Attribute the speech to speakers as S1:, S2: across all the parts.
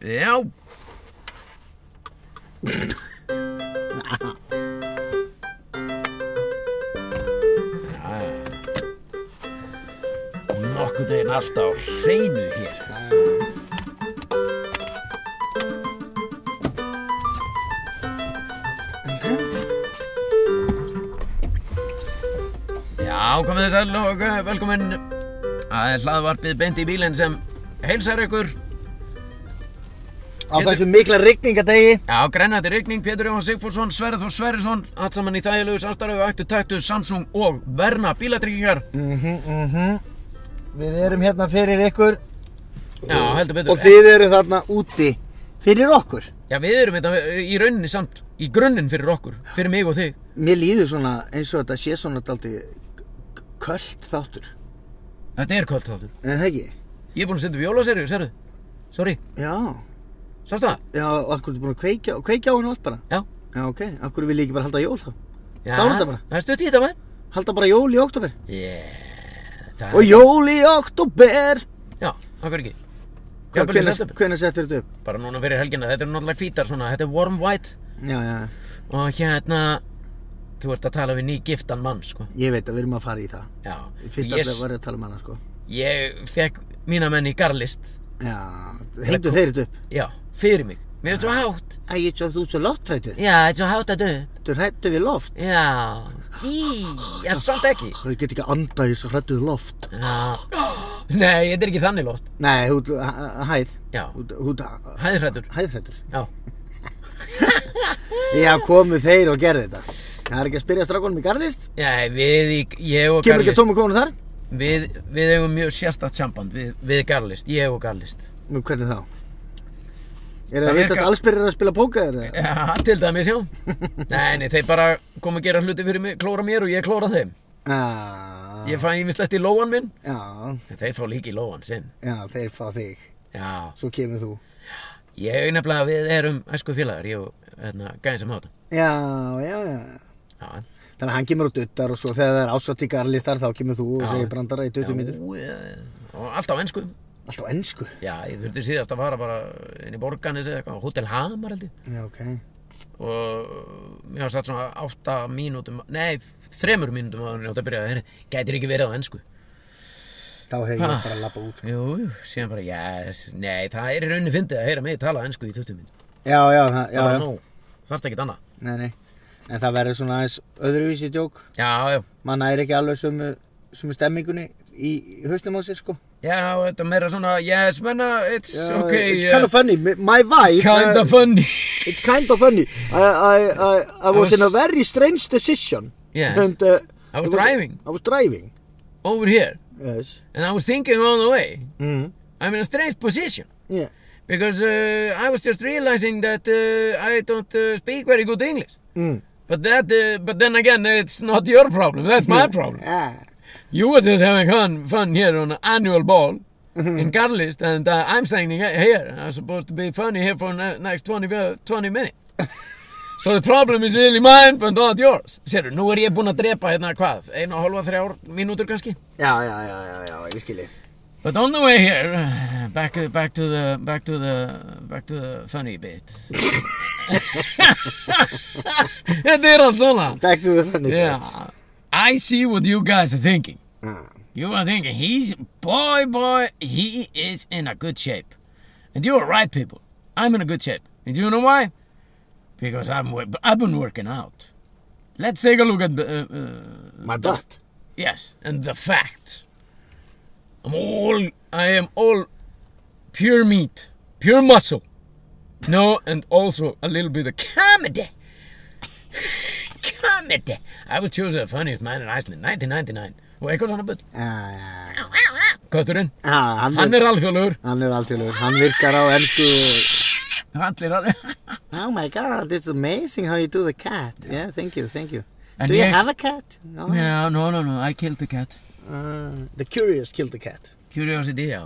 S1: Já Nokkuð einn alltaf hreinu hér Já, komið þið sæl og eh, velkomin Það er hlaðvarpið beint í bílinn sem heilsar ykkur
S2: Á þessu mikla rigningadegi
S1: Já, grennandi rigning, Pétur Jóhann Sigfúrsson, Sverð og Sverrisson, allt saman í þægilegu samstarfi við ættu tættu Samsung og Verna bílatryggingar.
S2: Mhm, mhm Við erum hérna fyrir ykkur
S1: Já, heldur betur.
S2: Og þið eru þarna úti Fyrir okkur
S1: Já, við erum þetta í rauninni samt, í grunninn fyrir okkur, fyrir mig og þig.
S2: Mér líður svona eins og þetta sé svona daldi Köld þáttur
S1: Þetta er kvöld þáttur.
S2: En það ekki?
S1: Ég er búinn að setja upp jólaserju, sérðu. Sorry,
S2: Já
S1: sástu það?
S2: Já, akkur er búin að kveikja, kveikja á henni allt bara
S1: Já.
S2: Já, ok, akkur vil ég ekki bara halda jól þá
S1: Já,
S2: Klára þetta bara.
S1: Það er stutt í þetta maður.
S2: Halda bara jól í oktober
S1: Yeah, það
S2: Og jól í oktober
S1: Já, það fyrir ekki. Já, bara í
S2: Hvenær
S1: september.
S2: hvenær settur þetta upp?
S1: Bara núna fyrir helgina, þetta eru náttúrulega hvítar svona, þetta er warm white
S2: Já, já,
S1: og hérna, þú ert að tala við ný giftan mann, sko.
S2: ég veit að við erum að fara í það
S1: Já,
S2: Fyrst
S1: ég-
S2: alltaf var ég að tala um hana sko
S1: Ég fekk mína menn í garlist
S2: Já, hengdu þeir þetta upp
S1: Já, fyrir mig Mér er svo hátt
S2: Æ, ég svo þú ert svo loftrættu
S1: Já, þetta er svo hátt að dö
S2: Þú hrættu við loft
S1: Já Í, já, samt ekki
S2: Þú get ekki andað í svo hrættu við loft
S1: Já Nei, þetta er ekki þannig loft
S2: Nei, þú ert h- hæð
S1: Já,
S2: Þú ert- Þú ert
S1: hæðrættur
S2: hæðrættur
S1: Já,
S2: Já, komu þeir og gerði þetta Það er ekki að spyrja strákunum í garlist
S1: Nei, við í, ég og
S2: Kemur ekki
S1: garlist
S2: tómu konu þar?
S1: við, við eigum mjög sérstætt samband við, við garlist, ég og garlist
S2: Nú, hvernig þá? Er
S1: Það
S2: það hitt
S1: virkar-
S2: að allsbyrjar að spila póker? eða?
S1: Já, til dæmis, já Nei, nei, þeir bara komu að gera hluti fyrir mig Klóra mér og ég klóra þeim
S2: Já,
S1: Ég fæ ímislegt í lóan minn
S2: já,
S1: En þeir fá líka í lóan sinn
S2: já, þeir fá þig
S1: Já,
S2: Svo kemur þú
S1: Ég nefnilega við erum æsku félagar, ég og hérna, gæðin sem hátta.
S2: Já, já, já
S1: Já,
S2: Þannig að hann kemur og duttar og svo þegar það er ásatt í garlistar þá kemur þú og
S1: Já.
S2: segir brandara í 20 mínútur.
S1: Ú, eh, og allt á ennsku.
S2: Alltaf ennsku.
S1: Já, ég þurfti síðast að fara bara inn í borganis eða eitthvað, á Hotel Hamar held ég.
S2: Já, ok.
S1: Og mér var satt svona átta mínútum, nei, þremur mínútum að hann átt að byrja, hérna, gætir ekki verið á ennsku.
S2: Þá hef ég bara labbað út.
S1: Jú, jú, síðan bara, já, nei, það er í rauninni fyndið að heyra mig tala ennsku í 20 mínútum.
S2: Já, já, það- já,
S1: Bara
S2: já.
S1: nóg, þarf ekkert annað.
S2: Nei, nei. En það verður svona aðeins öðruvísi djók.
S1: Já, já,
S2: Man næri ekki alveg sömu, sömu stemmingunni í, í hausnum á sér, sko.
S1: já, þetta er meira svona, yes, menna, it's
S2: Já,
S1: okay,
S2: It's
S1: yeah,
S2: kind of funny. My- My wife...
S1: kind of
S2: uh,
S1: funny.
S2: It's kind of funny. I, I, I, I was in a very strange decision.
S1: Yes.
S2: And, uh,
S1: I was
S2: it
S1: driving.
S2: I was driving.
S1: Over here.
S2: Yes.
S1: and I was thinking on the way.
S2: Mm.
S1: I'm in a strange position
S2: Yeah.
S1: because uh, I was just realizing that uh, I don't uh, speak very good English.
S2: Mm.
S1: But that, uh, but then again, it's not your problem. That's my problem.
S2: Ah.
S1: You were just having fun, fun here on an annual ball in Carlist, and uh, I'm standing here. I'm supposed to be funny here for the next 20, uh, 20 minutes. So the problem is really mine, but not yours. Sérðu, nú er ég búinn að drepa hérna hvað, einu og hálfa, þrjár mínútur kannski?
S2: Já, já, já, já, já, ég skilji.
S1: But on the way here, uh, back back to the back to the back to the funny bit. Þetta er allt svona.
S2: Back to the funny.
S1: Yeah. I see what you guys are thinking.
S2: Ah.
S1: You are thinking he's boy boy he is in a good shape. And you are right people. I'm in a good shape. And you know why? Because I'm wo- I've been working out. Let's take a look at the uh, uh,
S2: My butt.
S1: Yes, and the facts. I'm all I am all pure meat, pure muscle. No, and also a little bit of comedy. comedy. I was chosen the funniest man in Iceland, 1999. Og eitthvað svona bull.
S2: Já, Ah, já, já.
S1: Kötturinn,
S2: Já, hann,
S1: hann
S2: er,
S1: er alþjóðlegur.
S2: hann er alltjóðlegur. Hann virkar á ennsku.
S1: Allir alveg.
S2: Oh my god, it's amazing how you do the cat. Yeah, thank you, thank you.
S1: And
S2: do you
S1: yes-
S2: have a cat? No.
S1: Já, no, no, no, I killed the cat.
S2: Uh, the curious killed the cat.
S1: Curiosity, já.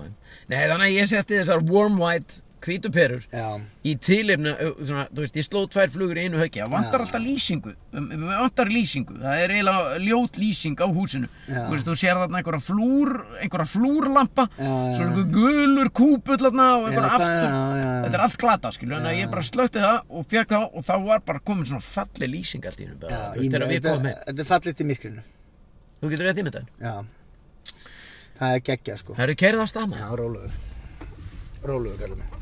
S1: Nei, þannig að ég setti þessar warm white hvítu perur
S2: Já,
S1: í tilefna, svona, þú veist, ég sló tvær flugur í einu höggi, það vantar alltaf lýsingu Um, um, vantar lýsingu, það er eiginlega ljót lýsing á húsinu
S2: Já.
S1: þú veist, þú sér þarna einhverja flúr einhverja flúrlampa,
S2: Já, já,
S1: svo einhver gulur kúpull þarna og einhverja
S2: Já, það-
S1: aftur
S2: já, já, já.
S1: þetta er allt glata, skilju, en að ég bara slötti það og fekk það og þá var bara komin svona falleg lýsing allt í hennu, bara,
S2: já
S1: þú veist, þegar við komum heim
S2: Þetta er fallit í mikrinu
S1: þú getur rétt í með þetta,
S2: Já Það er geggjað sko
S1: það eru kerða stama
S2: Já, rólegur Rólegur kallar mig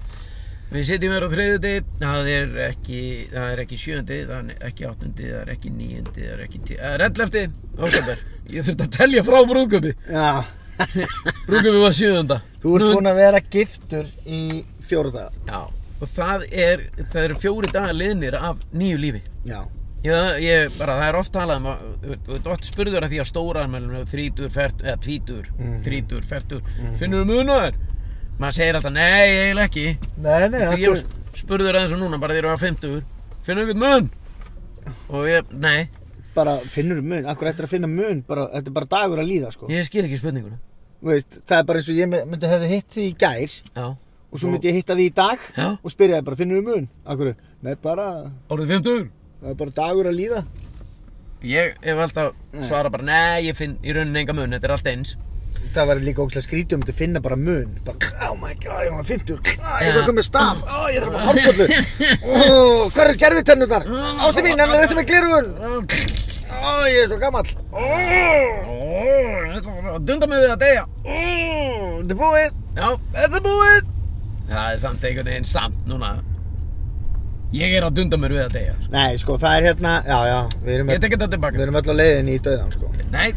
S1: Við sitjum hér á þriðuti, það er ekki, það er ekki sjöndi, það er ekki áttundi, það er ekki níundi, það er ekki tí... Það er ellefti, óskapar, ég þurfti að telja frá brúðköpi,
S2: Já
S1: brúðköpi var sjöðunda.
S2: Þú ert búinn að vera giftur í fjóruða
S1: Já, og það er, það eru fjóri dagar liðnir af nýju lífi.
S2: Já
S1: Ég, ég bara, það er oft talað um að, þú þú ert oft spurður að því að stóra anmælum, þrítur, fert, eða tvítur, þrítur, fertur, mm -hmm. finnur þú munaður? Maður segir alltaf, nei, eiginlega ekki.
S2: Nei, nei,
S1: Þegar ég var sp- spurður aðeins og núna bara þegar ég var 50 Finna einhvern mun? Og ég, nei,
S2: bara finnur mun, akkur ættir að finna mun bara, þetta er bara dagur að líða sko
S1: ég skil ekki spurninguna
S2: Þú veist, það er bara eins og ég my- myndi hefði hitt því í gær
S1: Já,
S2: og svo myndi ég hitta því í dag
S1: Já.
S2: og spyrja það bara, finnur við mun? Akkur, nei bara,
S1: orðið 50
S2: það er bara dagur að líða
S1: Ég hef alltaf svarað bara, nei, ég finn í rauninni enga mun, þetta er allt eins
S2: Það var líka ógæslega skrítið um þetta að finna bara mun bara, oh my god, ég var 50 ah,
S1: Já.
S2: ég þarf að koma með staf, ah, ég þarf að koma hálfbóllu oh, hvað eru gerfitennurnar? Ástu mín, hann er eftir með glerugun oh, ég er svo gamall
S1: Dunda mig við að deyja
S2: þetta er búið,
S1: Já,
S2: þetta er búið
S1: það er samt einhvern veginn samt núna Ég er að dunda mér við að deyja sko.
S2: Nei, sko, það er hérna, já, já við erum,
S1: Ég
S2: öll,
S1: tekið þetta
S2: við
S1: tilbaka
S2: erum öll á leiðinni í döðan, sko
S1: Nei,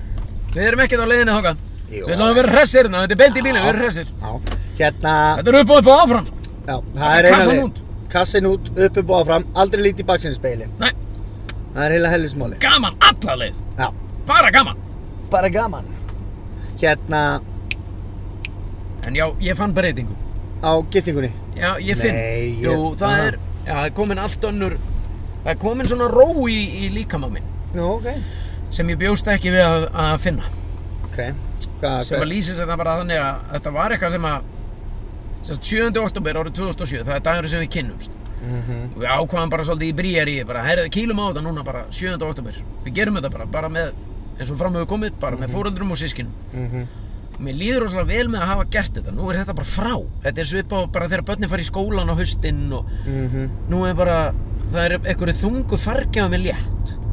S1: við erum ekkert á leiðinni þóka
S2: Jú,
S1: Við ætlum að vera hressir hérna, þetta er beint í bílum, við erum hressir
S2: Já, hérna,
S1: Þetta er upp og upp og áfram sko.
S2: já, það er
S1: kassan
S2: leið.
S1: út.
S2: Kassin út, upp, upp og áfram, aldrei lítið í baksinnspeilin
S1: Nei,
S2: Það er heila hellismáli
S1: gaman, alla leið
S2: Já,
S1: Bara gaman
S2: bara gaman Hérna,
S1: En já, ég fann breytingu
S2: á giftingunni
S1: Já, ég finn
S2: Nei, ég-
S1: Jú, það
S2: Aha.
S1: er, já, það er komin allt önnur Það er komin svona ró í, í líkama minn
S2: Nú, ok
S1: sem ég bjóst ekki við að, að finna
S2: Ok, hvað,
S1: sem að lýsir þetta bara þannig að þetta var eitthvað sem að sérst, 7. oktober árið 2007 það er dagur sem við kynnumst
S2: Mhm.
S1: og við ákvaðum bara svolítið í brýjar í bara, herðu, kýlum á þetta núna bara 7. oktober við gerum þetta bara, bara með eins og fram hefur komið, bara með fóreldrum og sískinum
S2: Mhm.
S1: og mér líður rosalega vel með að hafa gert þetta nú er þetta bara frá, þetta er svipað bara þegar börnin fara í skólan á haustinn og
S2: Mhm,
S1: nú er bara, það er einhverju þungu fargjáð með létt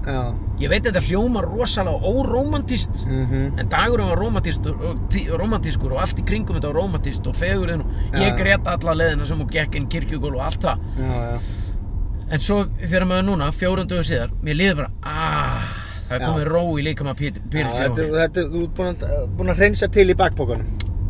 S2: já
S1: ég veit þetta hljómar rosalega órómantist
S2: Mhm,
S1: En dagurinn var romantískur og, tí- rómantískur og allt í kringum þetta var romantíst og fegurinn og ég
S2: Já.
S1: grét alla leðina sem hún gekk inn kirkjugól og allt það.
S2: já, já
S1: En svo þegar maður núna, fjórundu og síðar, mér líður bara, aaaah, það er
S2: Já.
S1: komið ró í líkama pýrl
S2: Já, þetta,
S1: kljóðan.
S2: þetta, þú ert búin að, búin að hreinsa til í bakpokunum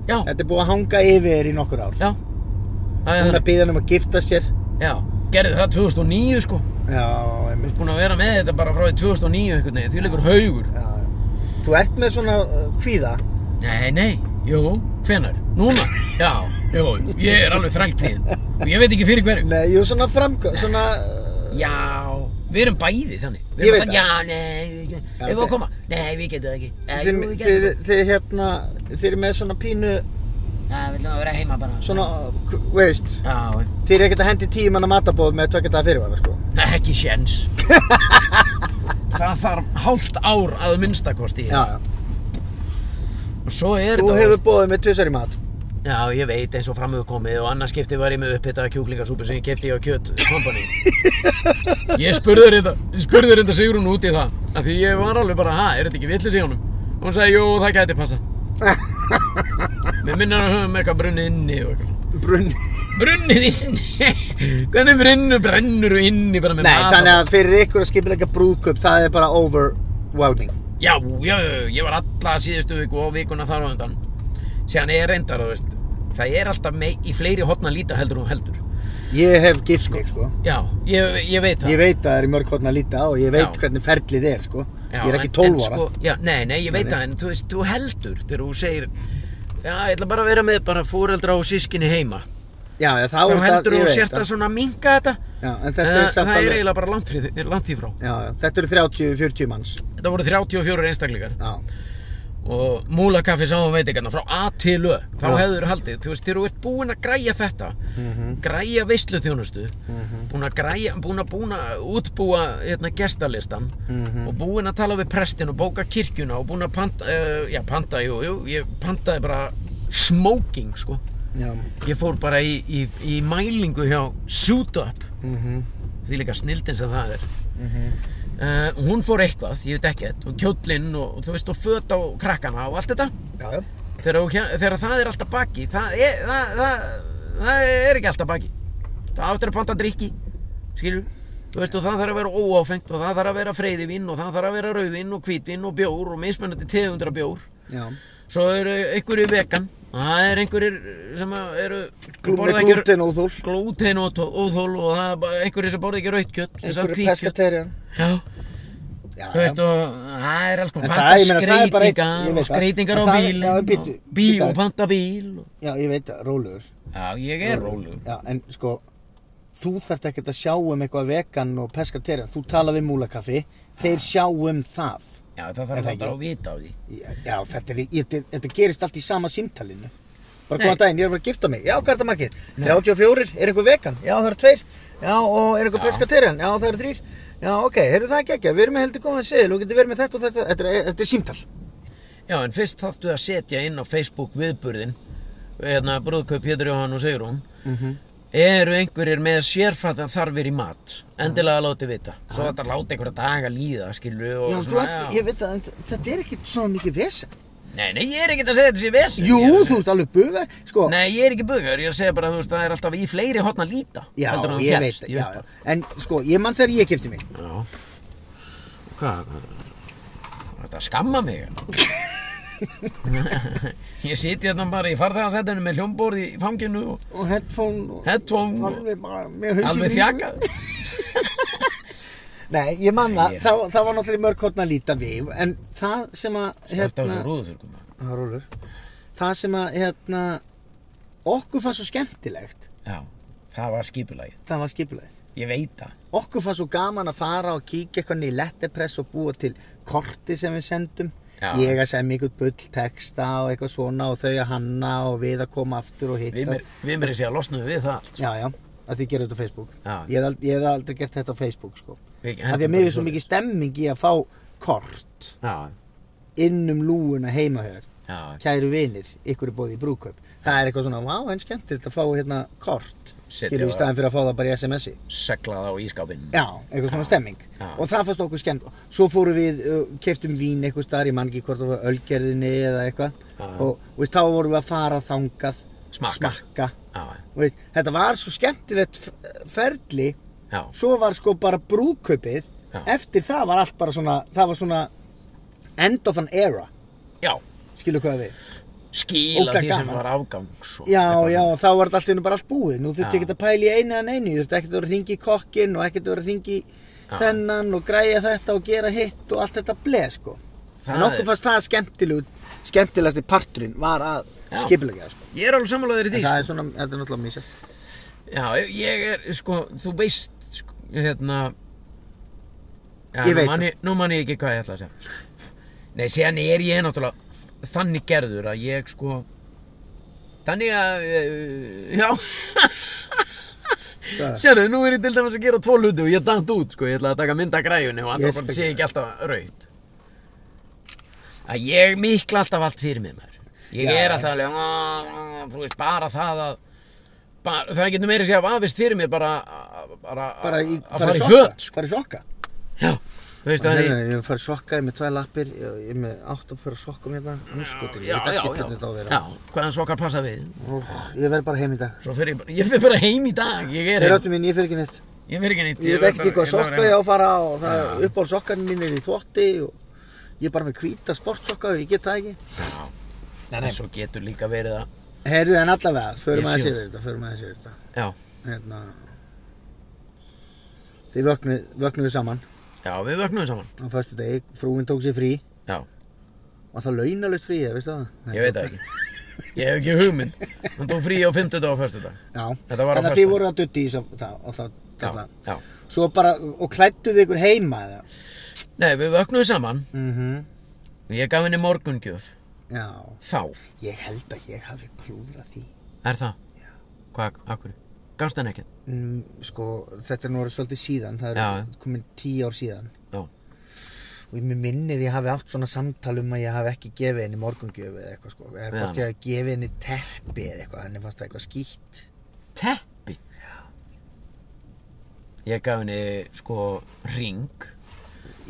S1: Já,
S2: Þetta er búin að hanga yfir þér í nokkur ár
S1: já, það er
S2: Búin að
S1: þannig.
S2: býða um að gifta sér
S1: Já, gerði það 2009 sko,
S2: Já, einmitt
S1: búin að vera með þetta bara frá því 2009 einhvern veginn, því leikur haugur.
S2: Já, já Þú ert með svona uh, kvíða
S1: Nei, nei, jú, hvenar? Núna? Já, jú, ég er alveg þrængt því og ég veit ekki fyrir hverju.
S2: Nei, jú, svona framkvæm, svona... uh,
S1: Já, við erum bæði þannig Við
S2: Ég
S1: erum
S2: veit
S1: þannig, já, nei, við getum
S2: Já,
S1: Ef við
S2: þið-
S1: að koma, nei, við getum það ekki Eh,
S2: Þið,
S1: Jú, við getum
S2: þið,
S1: það
S2: þið, hérna, þið eru með svona pínu,
S1: Já, við ætlum að vera heima bara
S2: svona, uh, k- veist,
S1: Já,
S2: þið eru ekkert að hendi tíu manna matabóð með tvekja daga fyrirvara, sko.
S1: nei, ekki séns Það þarf hálft ár að minnstakosti
S2: Já, já.
S1: Og svo er
S2: Þú
S1: þetta
S2: hefur bóðið með tvisar í mat.
S1: Já, ég veit eins og framöðu komið og annars skipti var ég með upphittaða kjúklingasúpu sem ég kefti á Kjöt Company. Ég spurði reynda, ég spurði reynda Sigrún út í það, af því ég var alveg bara, ha, er þetta ekki villis í honum? Og hún sagði, jú, það gæti passa. Mér minnar að við höfum eitthvað brunnið inni og eitthvað.
S2: Brunni.
S1: Brunnið inni? Hvernig brunnu brennur þú inni bara með
S2: Nei,
S1: mat og-
S2: þannig að fyrir ykkur að skipilega brúðköp, það er bara overwhelming.
S1: Já, já, já, ég var alla síðustu viku og vikuna þar á undan. Síðan er reyndar, þú veist, það er alltaf mei, í fleiri hotna líta heldur og heldur.
S2: Ég hef gift mig, sko.
S1: Já, ég, ég veit það.
S2: Ég veit að það er í mörg horn að líta á og ég veit
S1: Já.
S2: hvernig ferlið er, sko.
S1: Já,
S2: Ég er ekki
S1: en-
S2: 12
S1: en
S2: ára.
S1: Sko, já, nei, nei, ég veit það, en þú veist, þú heldur þegar þú segir, já, ég ætla bara að vera með bara fóreldra og sískinni heima.
S2: Já, já, þá
S1: Þá
S2: er það,
S1: heldur
S2: ég
S1: þú
S2: veit
S1: sér það
S2: það.
S1: svona minga þetta.
S2: Já, en
S1: En
S2: þetta er samt
S1: það er
S2: alveg.
S1: eiginlega bara langt, fyrir, langt því frá.
S2: Já, já, þetta eru 30-40 manns.
S1: Þetta voru 34 einstaklingar
S2: Já.
S1: og múlakaffi sáum veitingarna hérna, frá A til Ö þá
S2: Já.
S1: hefur haldið, þú veist, þegar þú ert búinn að græja þetta græja veisluþjónustu búinn að græja, búinn að búinn að útbúa hérna, gestalistan og búinn að tala við prestin og bóka kirkjuna og búinn að panta, uh, já panta, jú, jú ég pantaði bara smoking, sko
S2: Já.
S1: ég fór bara í, í, í mælingu hjá Suit Up Mhm, því líka snildin sem það er uh, hún fór eitthvað, ég veit ekki og kjóllinn og, og þú veist og föt á krakkana og allt þetta
S2: Já, já.
S1: þegar, þú hér, þegar það er alltaf baki það er, það, það, það er ekki alltaf baki það áttur að panta drikki skilur Þú veist, og það þarf að vera óáfengt og það þarf að vera freyðivinn og það þarf að vera rauðvinn og hvítvinn og bjór og mismunandi tegundra bjór
S2: Já.
S1: Svo eru einhverju vegan Það er einhverjir sem að eru
S2: Glúmi
S1: borða ekki-
S2: glúten óþól.
S1: Glúten og tó- óþol og það er bara einhverjir sem borða ekki rautt kjött sem sagt
S2: Einhverju
S1: hvítt kjöt.
S2: pescaterian.
S1: Já,
S2: Já,
S1: þú veist og það er alls
S2: En
S1: konar
S2: það,
S1: Panta
S2: ég meina, það er bara eitt-
S1: skreitinga
S2: ég
S1: og
S2: veit það.
S1: skreitingar á
S2: En það-
S1: bíl
S2: já, bíddu,
S1: Bíl
S2: bíddu.
S1: og panta bíl og-
S2: Já, ég veit, rólegur.
S1: Já, ég er rólegur
S2: Já, en sko, þú þarft ekkert að sjá um eitthvað vegan og pescaterian. Þú tala við múlakaffi, þeir
S1: Ah.
S2: sjá um það.
S1: Já, það
S2: Er
S1: þarf
S2: það
S1: þetta
S2: ekki?
S1: að vita á því
S2: Já, þetta, er, ég, þetta, þetta gerist allt í sama símtalinu. Bara
S1: Nei.
S2: góðan daginn, ég er að fara að gifta mig. Já, hvað er það margir? 34, er eitthvað vegan? Já, það eru tveir. Já, og er eitthvað
S1: Já.
S2: pescaterian? Já, það eru þrýr. Já, ok, heyrðu það ekki ekki, við erum með heldur góðan seðil og getur verið með þetta og þetta. Þetta er, þetta er símtal.
S1: Já, en fyrst þáttu að setja inn á Facebook viðburðin hérna brúðkaup Pétur Jóhann og Sigrún
S2: Mhm.
S1: eru einhverjir með sérfættan þarfir í mat endilega láti vita svo þetta láti einhverja daga líða skilur og
S2: Já, þú
S1: svona,
S2: ert,
S1: já.
S2: ég veit að en þetta er ekkert svona mikið vesen.
S1: Nei, nei, ég er ekkert að segja þetta sé vesen
S2: Jú,
S1: ég er að
S2: þú ert alveg bugar, sko.
S1: segja- Nei, ég er ekki bugar, ég er að segja bara þú veist, það er alltaf í fleiri hotna líta
S2: já,
S1: heldur en þú
S2: ég veit
S1: hélst
S2: það,
S1: í
S2: já,
S1: upphafi.
S2: já. En sko, ég mann þegar ég gifti mig.
S1: Já. Hvað? Þetta skamma mig. ég siti hérna bara í farþegarsætunum með hljómborð í fanginu og
S2: Og headphone og...
S1: Headphone og-
S2: Alveg bara með hausinn
S1: alveg
S2: í-
S1: þjakað.
S2: Nei, ég man það,
S1: Nei, ég-
S2: það, það var náttúrulega í mörg horn að líta við, en það sem að, hérna,
S1: Þetta var svo rúðuþurkum.
S2: það er rúlur, það sem að, hérna, okkur fannst svo skemmtilegt,
S1: Já, það var skipulagið.
S2: það var skipulagið.
S1: Ég veit það.
S2: Okkur fannst svo gaman að fara og kíkja eitthvað niður í letterpress og búa til korti sem við sendum.
S1: Já.
S2: Ég að semja einhvern bull texta og eitthvað svona og þau að hanna og við að koma aftur og hitta.
S1: Við mér, við mér er sér að losna við það allt.
S2: Já, já, að þið gerir þetta á Facebook.
S1: Já.
S2: Ég hef aldrei, hef aldrei gert þetta á Facebook, sko.
S1: Við
S2: Af því að
S1: hendum
S2: mér
S1: bara
S2: er svo
S1: svoleiðis.
S2: mikið stemming í að fá kort
S1: Já,
S2: inn um lúuna heima hjá þér
S1: já,
S2: kæru vinir, ykkur er bóðið í brúköp það er eitthvað svona, vá, en skemmtilegt að fá hérna kort,
S1: Setja
S2: skilur
S1: á-
S2: í staðan fyrir að fá það bara í SMS-i
S1: seglað á ískápinn.
S2: já, eitthvað svona stemming
S1: Já.
S2: og það fannst okkur skemmt, svo fórum við uh, keftum vín eitthvað starf, ég man ekki hvort það var ölgerðinni eða eitthvað
S1: Já.
S2: og og veist, þá vorum við að fara þangað
S1: Smakka. Já,
S2: og veist, þetta var svo skemmtilegt f- ferli
S1: já,
S2: svo var sko bara brúköpið
S1: Já.
S2: eftir það var allt bara svona það var svona end of an era
S1: já.
S2: skilu hvað við
S1: Skila
S2: Ógeðslega
S1: því sem
S2: gaman.
S1: var afgangs. og
S2: Já,
S1: eitthvað
S2: já,
S1: svona.
S2: þá var þetta allt einu bara allt búið. Nú þurfti
S1: sko. Já.
S2: ekkert að pæla í einu en einu. Þú þurfti ekkert að vera að ringi í kokkin og ekkert að vera að ringi í þennan og græja þetta og gera hitt og allt þetta bleð, sko.
S1: Það
S2: en okkur
S1: er-
S2: fannst það skemmtilegu, skemmtilegasti parturinn var að
S1: Já.
S2: skipulegja, sko.
S1: Ég er alveg sammálaður í því.
S2: En
S1: sko.
S2: það er svona, þetta er náttúrulega mísið.
S1: Já, ég er, sko, þú veist, sko, hérna já,
S2: Ég veit
S1: nú man ég, nú man ég ekki hvað ég ætla að segja Nei, síðan er ég náttúrulega þannig gerður að ég, sko Þannig að, eh, já
S2: Hvað?
S1: Sérðu, nú er ég til dæmis að gera tvo hluti og ég dant út, sko Ég ætla að taka mynda græjunni og
S2: Ég
S1: andra
S2: skal
S1: bara
S2: gera
S1: sé ekki alltaf raut Að ég mikla alltaf allt fyrir mig, maður Ég
S2: Já.
S1: er alltaf alveg, "Ah, ah, þú veist, bara það að bara, það getur meira að segja vafist fyrir mér bara, bara,
S2: Bara í,
S1: að fara í
S2: sokka.
S1: föt sko.
S2: Fara í sokka.
S1: já, þú veist að
S2: Nei,
S1: ég
S2: nei, ég fara í sokka, ég er með tvær lappir, ég ég er með átt að fara sokkum hérna, anskotin,
S1: já,
S2: ég veit
S1: já,
S2: ekki
S1: já,
S2: hvernig þetta á að
S1: já,
S2: vera.
S1: hvaðan sokkar passa við
S2: Úff, Ég verð bara heim í dag.
S1: svo fyrir ég bara, ég fyrir bara heim í dag ég er
S2: Þeir
S1: heim,
S2: áttu mín, ég fer ekki neitt.
S1: ég fyrir ekki neitt
S2: Ég veit ekki hvað sokka ég á
S1: já,
S2: að fara og það uppáhald sokkarnir mín er í þvotti og ég er bara með hvíta sportsokka og ég get það ekki. Nei,
S1: en svo getur líka verið að
S2: Heyrðu en allavega, förum
S1: Ég
S2: aðeins
S1: sé.
S2: yfir þetta, förum aðeins yfir þetta.
S1: já,
S2: Hérna, þið vöknu, vöknuðu saman
S1: já, við vöknum saman
S2: á föstu degi, frúin tók sér frí
S1: já,
S2: og það launalust frí, veistu það? Nei,
S1: ég veit það ekki ég hef ekki hugmynd hún tók frí á 50 og á 1. dag
S2: Já,
S1: Þetta var á
S2: þannig að þið
S1: föstudag.
S2: voru að dutti í þess að það,
S1: já,
S2: það,
S1: já,
S2: svo bara, og klættuðu ykkur heima eða?
S1: nei, við vöknum saman
S2: Mhm,
S1: Ég gaf henni morgungjöf.
S2: Já,
S1: Þá.
S2: ég held að ég hafi klúðrað því.
S1: Er það? Já. Hvað, akkur? Gafst henni ekkert?
S2: Mm, sko, þetta er nú orðið svolítið síðan, það
S1: Já.
S2: er komin tíu ár síðan.
S1: Já.
S2: Og ég mér minnir ég hafi átt svona samtal um að ég hafi ekki gefið henni morgungjöf eða eitthvað sko. Eða
S1: Já.
S2: hvort ég hafi gefið henni teppi eða eitthvað, henni fannst það eitthvað skýtt.
S1: Teppi? Já. Ég gaf henni, sko, ring.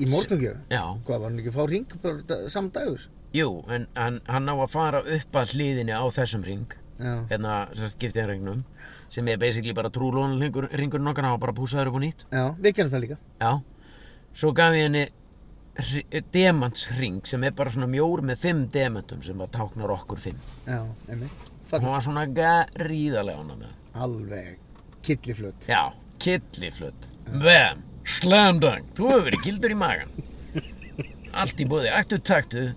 S2: Í morgungjöf?
S1: Já.
S2: Hvað, var hann ekki að fá ring bara da- sama dagus?
S1: Jú, en hann, hann á að fara upp að hliðinni á þessum ring.
S2: Já.
S1: Hérna, sérst, giftið regnum. Sem er basically bara trúlón ringur, ringur nokkana og bara púsaður upp og nýtt.
S2: Já, við gerum það líka.
S1: Já. Svo gaf ég henni demantsring sem er bara svona mjór með fimm demantum sem bara táknar okkur fimm.
S2: Já, einmitt.
S1: Hún
S2: Fallið.
S1: var svona gríðarlega hana með það.
S2: Alveg killiflut.
S1: Já, killiflut Bam, slam dunk Þú hefur verið kildur í magan Allt í búði, ættu taktu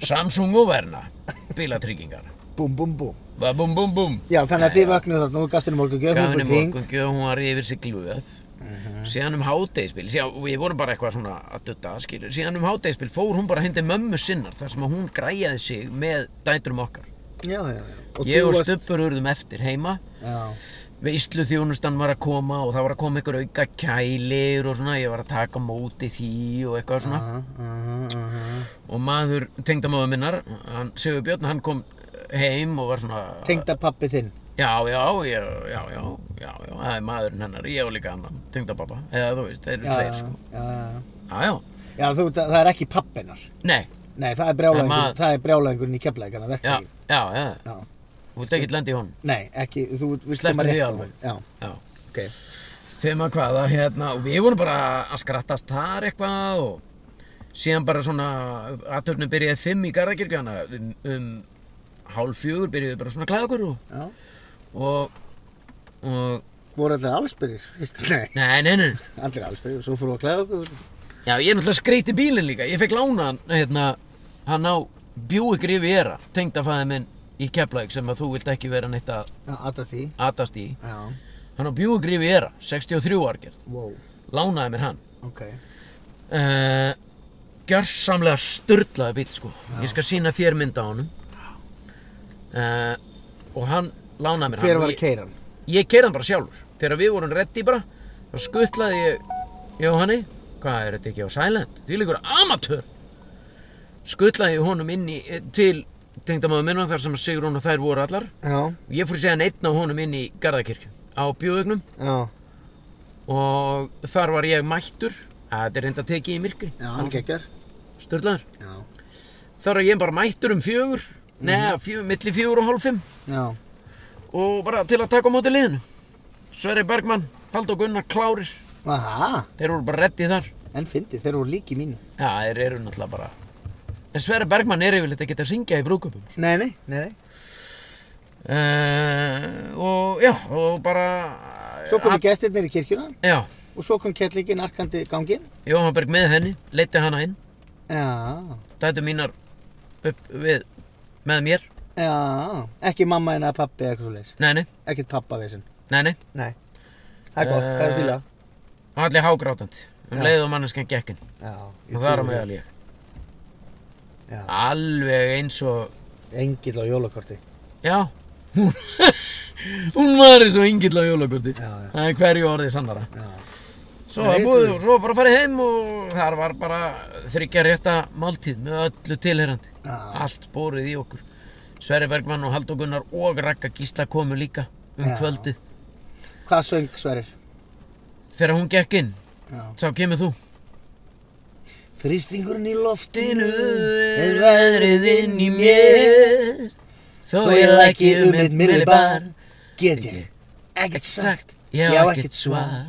S1: Samsung og Verna Bílatryggingar
S2: Búm, búm, búm.
S1: Ba bum bum bum
S2: Já, þannig að þið vaknaðu þarna og þú gafst henni morgungjöf,
S1: Gaf henni
S2: hún fór Mhm. ring.
S1: morgungjöf, hún var yfir sig glöð Síðan um hádegispil Síðan, við vorum bara eitthvað svona að dutta skilur. Síðan um hádegispil fór hún bara hindi mömmu sinnar Þar sem að hún græjaði sig með dætrum okkar
S2: Já, já, já.
S1: Ég
S2: þú
S1: og
S2: varst-
S1: Stubbur urðum eftir heima
S2: Já,
S1: veislu þjónustan var að koma og það var að koma ykkur auka kælir og svona, ég var að taka á móti því og eitthvað svona
S2: aha, aha, aha.
S1: og maður, tengdamáður minnar, hann Sigur Björn, hann kom heim og var svona
S2: Tengda pappi þinn.
S1: já, já, já, já, já, já, já, það er maðurinn hennar, ég og líka annan, tengdapappa, eða þú veist, þeir eru
S2: Já, já,
S1: tveir sko,
S2: já, já.
S1: já, já,
S2: Já, þú, það það er ekki pappinar.
S1: nei,
S2: Nei, það er
S1: Nei,
S2: brjálæðingurinn,
S1: maður-
S2: það er brjálæðingurinn í keflækana,
S1: já,
S2: verktakinn.
S1: já, já,
S2: Já.
S1: þú vilt ekki lendi í honum,
S2: Nei, ekki, þú veist
S1: Slepptu því
S2: á
S1: alveg.
S2: það. Já,
S1: já,
S2: ok.
S1: Fimm að hvaða hérna og við vorum bara að skrattast þar eitthvað og síðan bara svona aðtöfnum byrjaði fimm í Garðakirkjana um, um hálf fjögur byrjaði bara svona að klæða okkur og,
S2: Já.
S1: og, og
S2: Voru allir allsbyrjir, fyrst? Nei,
S1: nei, nei, nei,
S2: allir allsbyrjir, svo fóru að klæða okkur.
S1: já ég er náttúrulega skreyti bílinn líka, ég fekk lána hann, hérna, hann á Bjúi Grifiera, tengdafæði minn í Keflæk sem að þú vilt ekki vera neitt að
S2: Já, aðtast því.
S1: atast í,
S2: Já,
S1: hann á Bjúi Grifiera, 63 árgerð,
S2: wow,
S1: lánaði mér hann.
S2: ok.
S1: uh, gjörsamlega sturdlaði bíl sko. ég skal sína þér mynda á honum uh, og hann lánaði mér
S2: Hver
S1: hann
S2: var
S1: og
S2: að keira hann?
S1: ég, ég keirði hann bara sjálfur þegar við vorum reddi bara þá skuttlaði ég ég og hanni hvað er þetta ekki á Silent því líkur amatör skuttlaði ég honum inn í eh, til tengdamaður minna þar sem Sigrún og þær voru allar
S2: Já,
S1: og ég fór séðan einn á honum inn í Garðakirkju á bjóðugnum
S2: já,
S1: og þar var ég mættur að þetta er reynda tekið í myrkri
S2: já, hann geggar.
S1: Sturlaður
S2: Já,
S1: þá er ég bara mættur um fjögur neða, fjö, milli fjögur og hálf fimm
S2: já,
S1: og bara til að taka á móti liðinu Sverri Bergmann, Paldo Gunnar, Klárir
S2: aha,
S1: þeir eru bara reddið þar
S2: en fyndi, þeir voru líki mínu.
S1: já, þeir eru náttúrulega bara en Sverri Bergmann er yfirleitt að geta að syngja í brúkupum
S2: Nei, nei, nei, nei.
S1: uh, og já, og bara
S2: Svo komu gestirnir í kirkjuna
S1: já,
S2: og svo kom kettlingin arkandi ganginn.
S1: Jóhann Berg með henni leiti hana inn,
S2: Já,
S1: dætu mínar upp við með mér
S2: já, ekki mamma en að pappi eða eitthvað svo leys.
S1: nei, nei,
S2: Ekkert pappavesen.
S1: nei, nei,
S2: Nei, það er gott, það er
S1: Eh,
S2: fíla.
S1: allir hágrátandi um
S2: Já.
S1: leið og manneskjan gekkin
S2: Já,
S1: og Eh, það er að meðal ég
S2: Já.
S1: alveg eins og
S2: Engill á jólakorti.
S1: Já Hún- Hún var eins og yngill á jólakorti
S2: Já, já.
S1: Það er hverju orðið sannara
S2: Já,
S1: Svo
S2: Já,
S1: var
S2: ég
S1: búið
S2: trúi.
S1: og svo var bara farið heim og þar var bara þryggja rétta máltíð með öllu tilherandi
S2: Já.
S1: Allt borið í okkur Sverri Bergmann og Halldór Gunnar og Ragga Gísla komu líka um
S2: Já.
S1: kvöldið
S2: hvað söng sverir?
S1: Þegar hún gekk inn,
S2: Já.
S1: þá kemur þú
S2: Þrýstingurinn í loftinu
S1: Er veðrið inn í mér Þó ég læki um mitt millibar
S2: Get ég ekkert sagt
S1: Ég á ekkert svar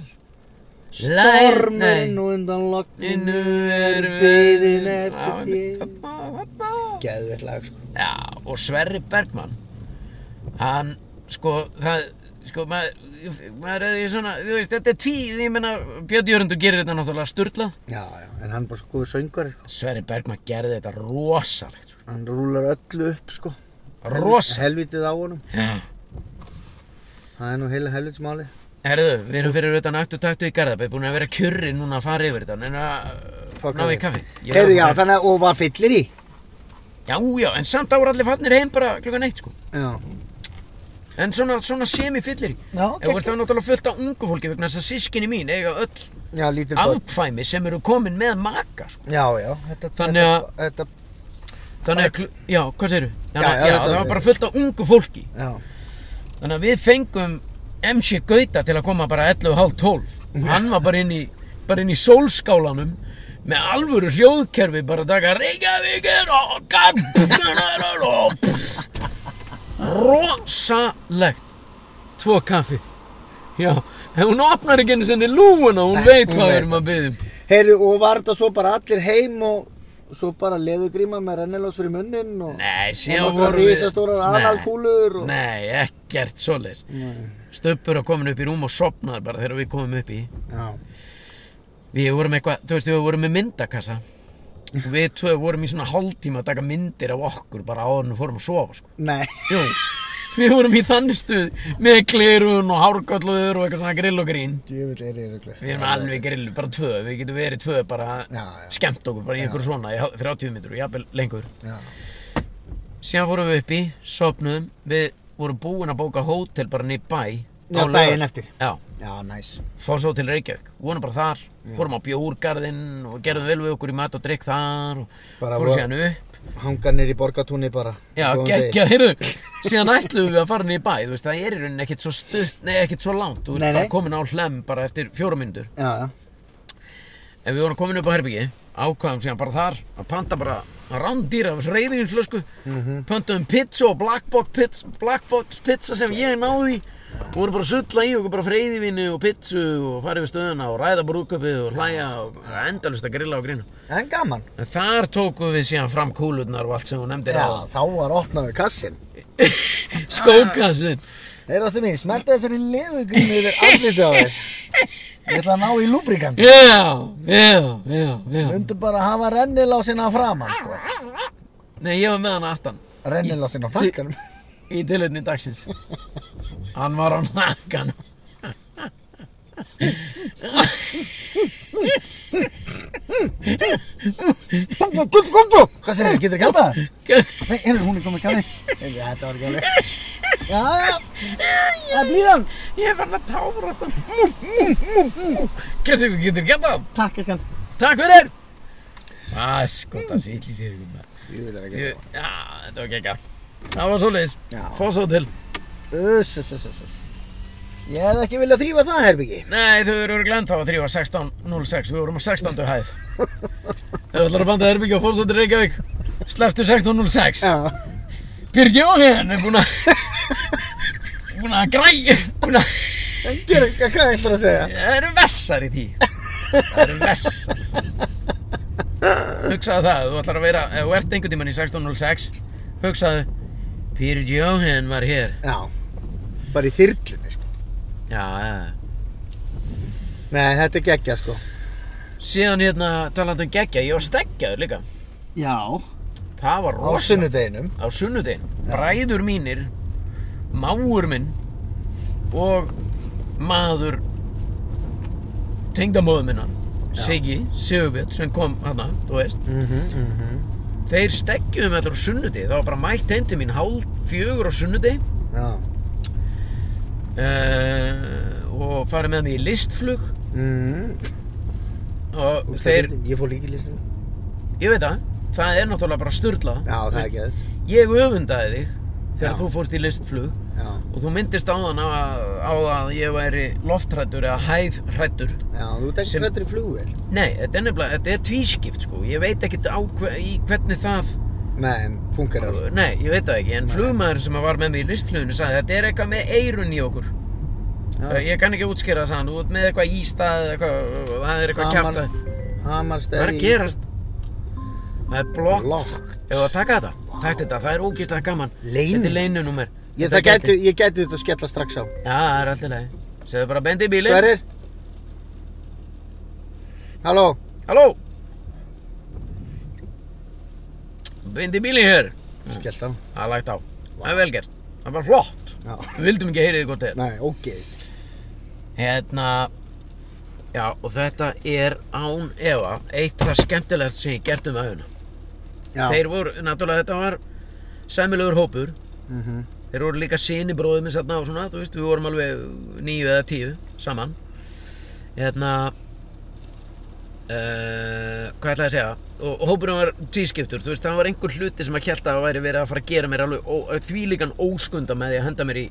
S1: Stormin
S2: Stormin og undan logninu
S1: Nú
S2: er biðin eftir þér Geðvett lag sko
S1: Já, og Sverri Bergmann Hann, sko, það Sko, maður, maður er því svona Þú veist, þetta er tví, ég meina Björn Jörundur gerir þetta náttúrulega sturlað
S2: Já, já, en hann er bara svo góður söngar sko.
S1: Sverri Bergmann gerði þetta rosalegt sko.
S2: Hann rúlar öllu upp sko
S1: Rosalegt
S2: Helvitið á honum
S1: Já.
S2: Það er nú heila helvitsmáli
S1: Herðu, við erum fyrir utan aftur taktu í Garðabæ búin að vera kjurri núna að fara yfir þetta en að
S2: Fá
S1: náði
S2: kaffi.
S1: kaffi Ég var
S2: Heyrðu, já,
S1: bara-
S2: þannig að, og var fyllir í.
S1: Já, já, en samt ára allir farnir heim bara klukkan eitt sko
S2: Já.
S1: En svona, svona semifyllir
S2: Já,
S1: Ég veist það er náttúrulega fullt af ungu fólki vegna þess að sískinni mín eiga öll
S2: Já, lítur börn.
S1: afkvæmi sem eru komin með maka sko.
S2: Já, já, þetta,
S1: Þannig að-
S2: þetta- þetta,
S1: Þannig að, kl- já, hvað segirðu? Þannig
S2: Já, já,
S1: að, já,
S2: þetta-
S1: það var bara fullt af ungu fólki
S2: já,
S1: Þannig að við fengum MC Gauta til að koma bara 11.30 Hann var bara inn í, bara inn í sólskálanum með alvöru hljóðkerfi bara að taka Reykjavíkir og kapp og rosalegt tvo kaffi Já, en hún opnar ekki einu sinni lúuna, hún veit
S2: hún
S1: hvað við
S2: veit
S1: erum að um. byggja
S2: heyrðu, og var þetta svo bara allir heim og svo bara leðugríma með rennilás fyrir munnin og...
S1: Nei,
S2: Og
S1: síðan
S2: nokkrar
S1: voru við
S2: risastórar
S1: Nei,
S2: analkúlur og-
S1: Nei, ekkert svoleiðis Stöppur að komin upp í rúm og sopnaður bara þegar við komum upp í
S2: Já,
S1: Við vorum eitthvað, þú veist, við vorum með myndakassa og við tvö vorum í svona hálftíma að taka myndir af okkur bara áður en við fórum að sofa, sko.
S2: nei,
S1: Jú, við vorum í þannig stuð með klirun og hárköllur og eitthvað svona grill og grín.
S2: djöfull er ég röglega.
S1: Við erum alveg grillu, bara tvö, við getum verið tvö bara
S2: Já, já.
S1: skemmt okkur, bara í einhverju svona, í hál- 30 minnur og jafnvel lengur.
S2: Já,
S1: Síðan fórum við upp í, sopnuðum, við vorum búin að bóka hótel bara niður bæ. á
S2: Já,
S1: laugardaginn.
S2: daginn eftir.
S1: Já,
S2: já, næs.
S1: fór svo til Reykjavík, vorum bara þar fórum á bjórgarðinn og gerðum vel við okkur í mat og drikk þar og
S2: Bara
S1: fórum
S2: vor-
S1: síðan upp
S2: Hanganir í borgatúni bara.
S1: já,
S2: Góðan degi.
S1: geggja, heyrðu, síðan ætluðum við að fara niður í bæ, þú veist, það er í rauninni ekkert svo stutt nei, ekkert svo langt, þú veist,
S2: Nei, nei.
S1: bara komin á hlem bara eftir fjóra myndur,
S2: Já, já.
S1: en við vorum komin upp á herbyggi ákvaðum síðan bara þar að panta bara rándýra reyðingin flösku mm -hmm. pöntum pizza og blackbox pizza, blackbox pizza sem ég náði í og vorum bara að sulla í okkur bara freyðivinni og pizzu og fara yfir stöðuna og ræða brúkupið og hlæja og endalust að grilla og grina
S2: En gaman.
S1: En þar tókum við síðan fram kúlurnar og allt sem hún nefndir
S2: Já, þá var opnaðu kassin.
S1: á skókassin.
S2: Þeir ástu mín, smelta þessari leðugrími yfir andlitið á þér. Ég ætla að ná í lúbrikant.
S1: Já, já, já, já.
S2: Undu bara að hafa rennilásina framan, sko.
S1: Nei, ég var með hann aftan
S2: Rennilásina á nakkanum.
S1: í tilhutni dagsins. Hann var á nakkanum.
S2: Bú, bú, bú, bú, bú. Hvað segir þér, getur þér kallað það?
S1: Ég
S2: Nei, hérna, hún er komið kallið. Þetta var ekki alveg. Já, já. Það er blíðan.
S1: er fann að tára aftan. Hversu ykkur getur gett það?
S2: Takk, ég skant.
S1: Takk fyrir! Æ, sko, það sé illi sér ykkur með.
S2: Ég veit það
S1: Já, þetta var gekka. Það var svoleiðis.
S2: Já.
S1: Foss á til.
S2: Uss, uss, uss, uss. Ég hefði ekki viljað þrýfa það, Herbyggi.
S1: Nei, þau eru glemt þá að þrjú að 16.06 Við vorum á 16. hæð Þau ætlar að banda Herbyggja og Fólksdóttir Reykjavík Sleftu 16.06 Björn Jóhann er búinn að Búinn að græja Búinn að
S2: En gera, hvað ætlar að segja?
S1: Það eru vessar í því Það eru vessar Hugsaðu það, þú ætlar að vera Ef þú ert einhvern tímann í 16.06 Hugsaðu Björn Jóhann var hér
S2: Já. Bara í þyrlunni, sko.
S1: Já, já
S2: Nei, þetta er geggja, sko.
S1: Síðan hérna talandi um geggja Ég var steggjaður líka
S2: Já.
S1: Það var
S2: Á
S1: rosa
S2: sunnudeginum.
S1: á sunnudegin bræður mínir máur minn og maður tengdamóðu minnar Siggi, Sigurbjörn sem kom hana, þú veist mhm. þeir stekkjuðum allir á sunnudegi það var bara mætt heim til mín hálf fjögur á sunnudegi
S2: Já.
S1: uh, og farið með mig í listflug
S2: Mm.
S1: og Mhm. þeir,
S2: Ég fór líka í listinu.
S1: ég veit það það er náttúrulega bara styrlað
S2: Já, það er geggja.
S1: ég öfundaði þig þegar
S2: Já.
S1: þú fórst í listflug
S2: Já.
S1: Og þú myndist á þann að, á það að ég væri loftrættur eða hæðrættur.
S2: Já, þú ert ekki
S1: Sem-
S2: rættur í flugvél.
S1: Nei, þetta er nefnilega, þetta er tvískipt sko. Ég veit ekkert á hve, í hvernig það,
S2: Nei, fungerar.
S1: nei, ég veit það ekki. En flugmaður sem var með mig í listfluginu sagði þetta er eitthvað með eirun í okkur.
S2: Já.
S1: Eh, Ég kann ekki útskýra það sann, þú ert með eitthvað í stað, eða eitthvað, eh, það er eitthvað
S2: Hamar-
S1: kæft að, það
S2: Hamarstæði.
S1: er að gerast. Það er blokk.
S2: Lokk.
S1: Ef þú að taka þetta, takk þetta, það er ógeðslega gaman.
S2: Leyni.
S1: Þetta er leinunúmer.
S2: Ég,
S1: Þetta
S2: það
S1: er
S2: gæti,
S1: gæti-
S2: ég gæti þetta að skella strax á.
S1: Já, það er alltaf leið. Segðu bara bendi í bílinn.
S2: Sverrir? Halló?
S1: Halló Bindi bílinn hér
S2: Skellt á.
S1: Það er lagt á Það er vel gert Það er bara flott
S2: Já.
S1: Við vildum ekki heyri því hvort þér
S2: Nei, ógeðið.
S1: Hérna Já, og þetta er án efa eitt það skemmtilegt sem ég gert um æfuna.
S2: Já.
S1: Þeir voru, náttúrulega þetta var sæmilegur hópur.
S2: Mhm.
S1: Þeir voru líka síni bróðið minn satna og svona, þú veist, við vorum alveg níu eða tíu saman. Hérna, uh, hvað ætlaði að segja? Og, og hópurinn var tvískiptur, þú veist, það var einhver hluti sem að kjælta að væri verið að fara að gera mér alveg ó, þvílíkan óskunda með því að henda mér í,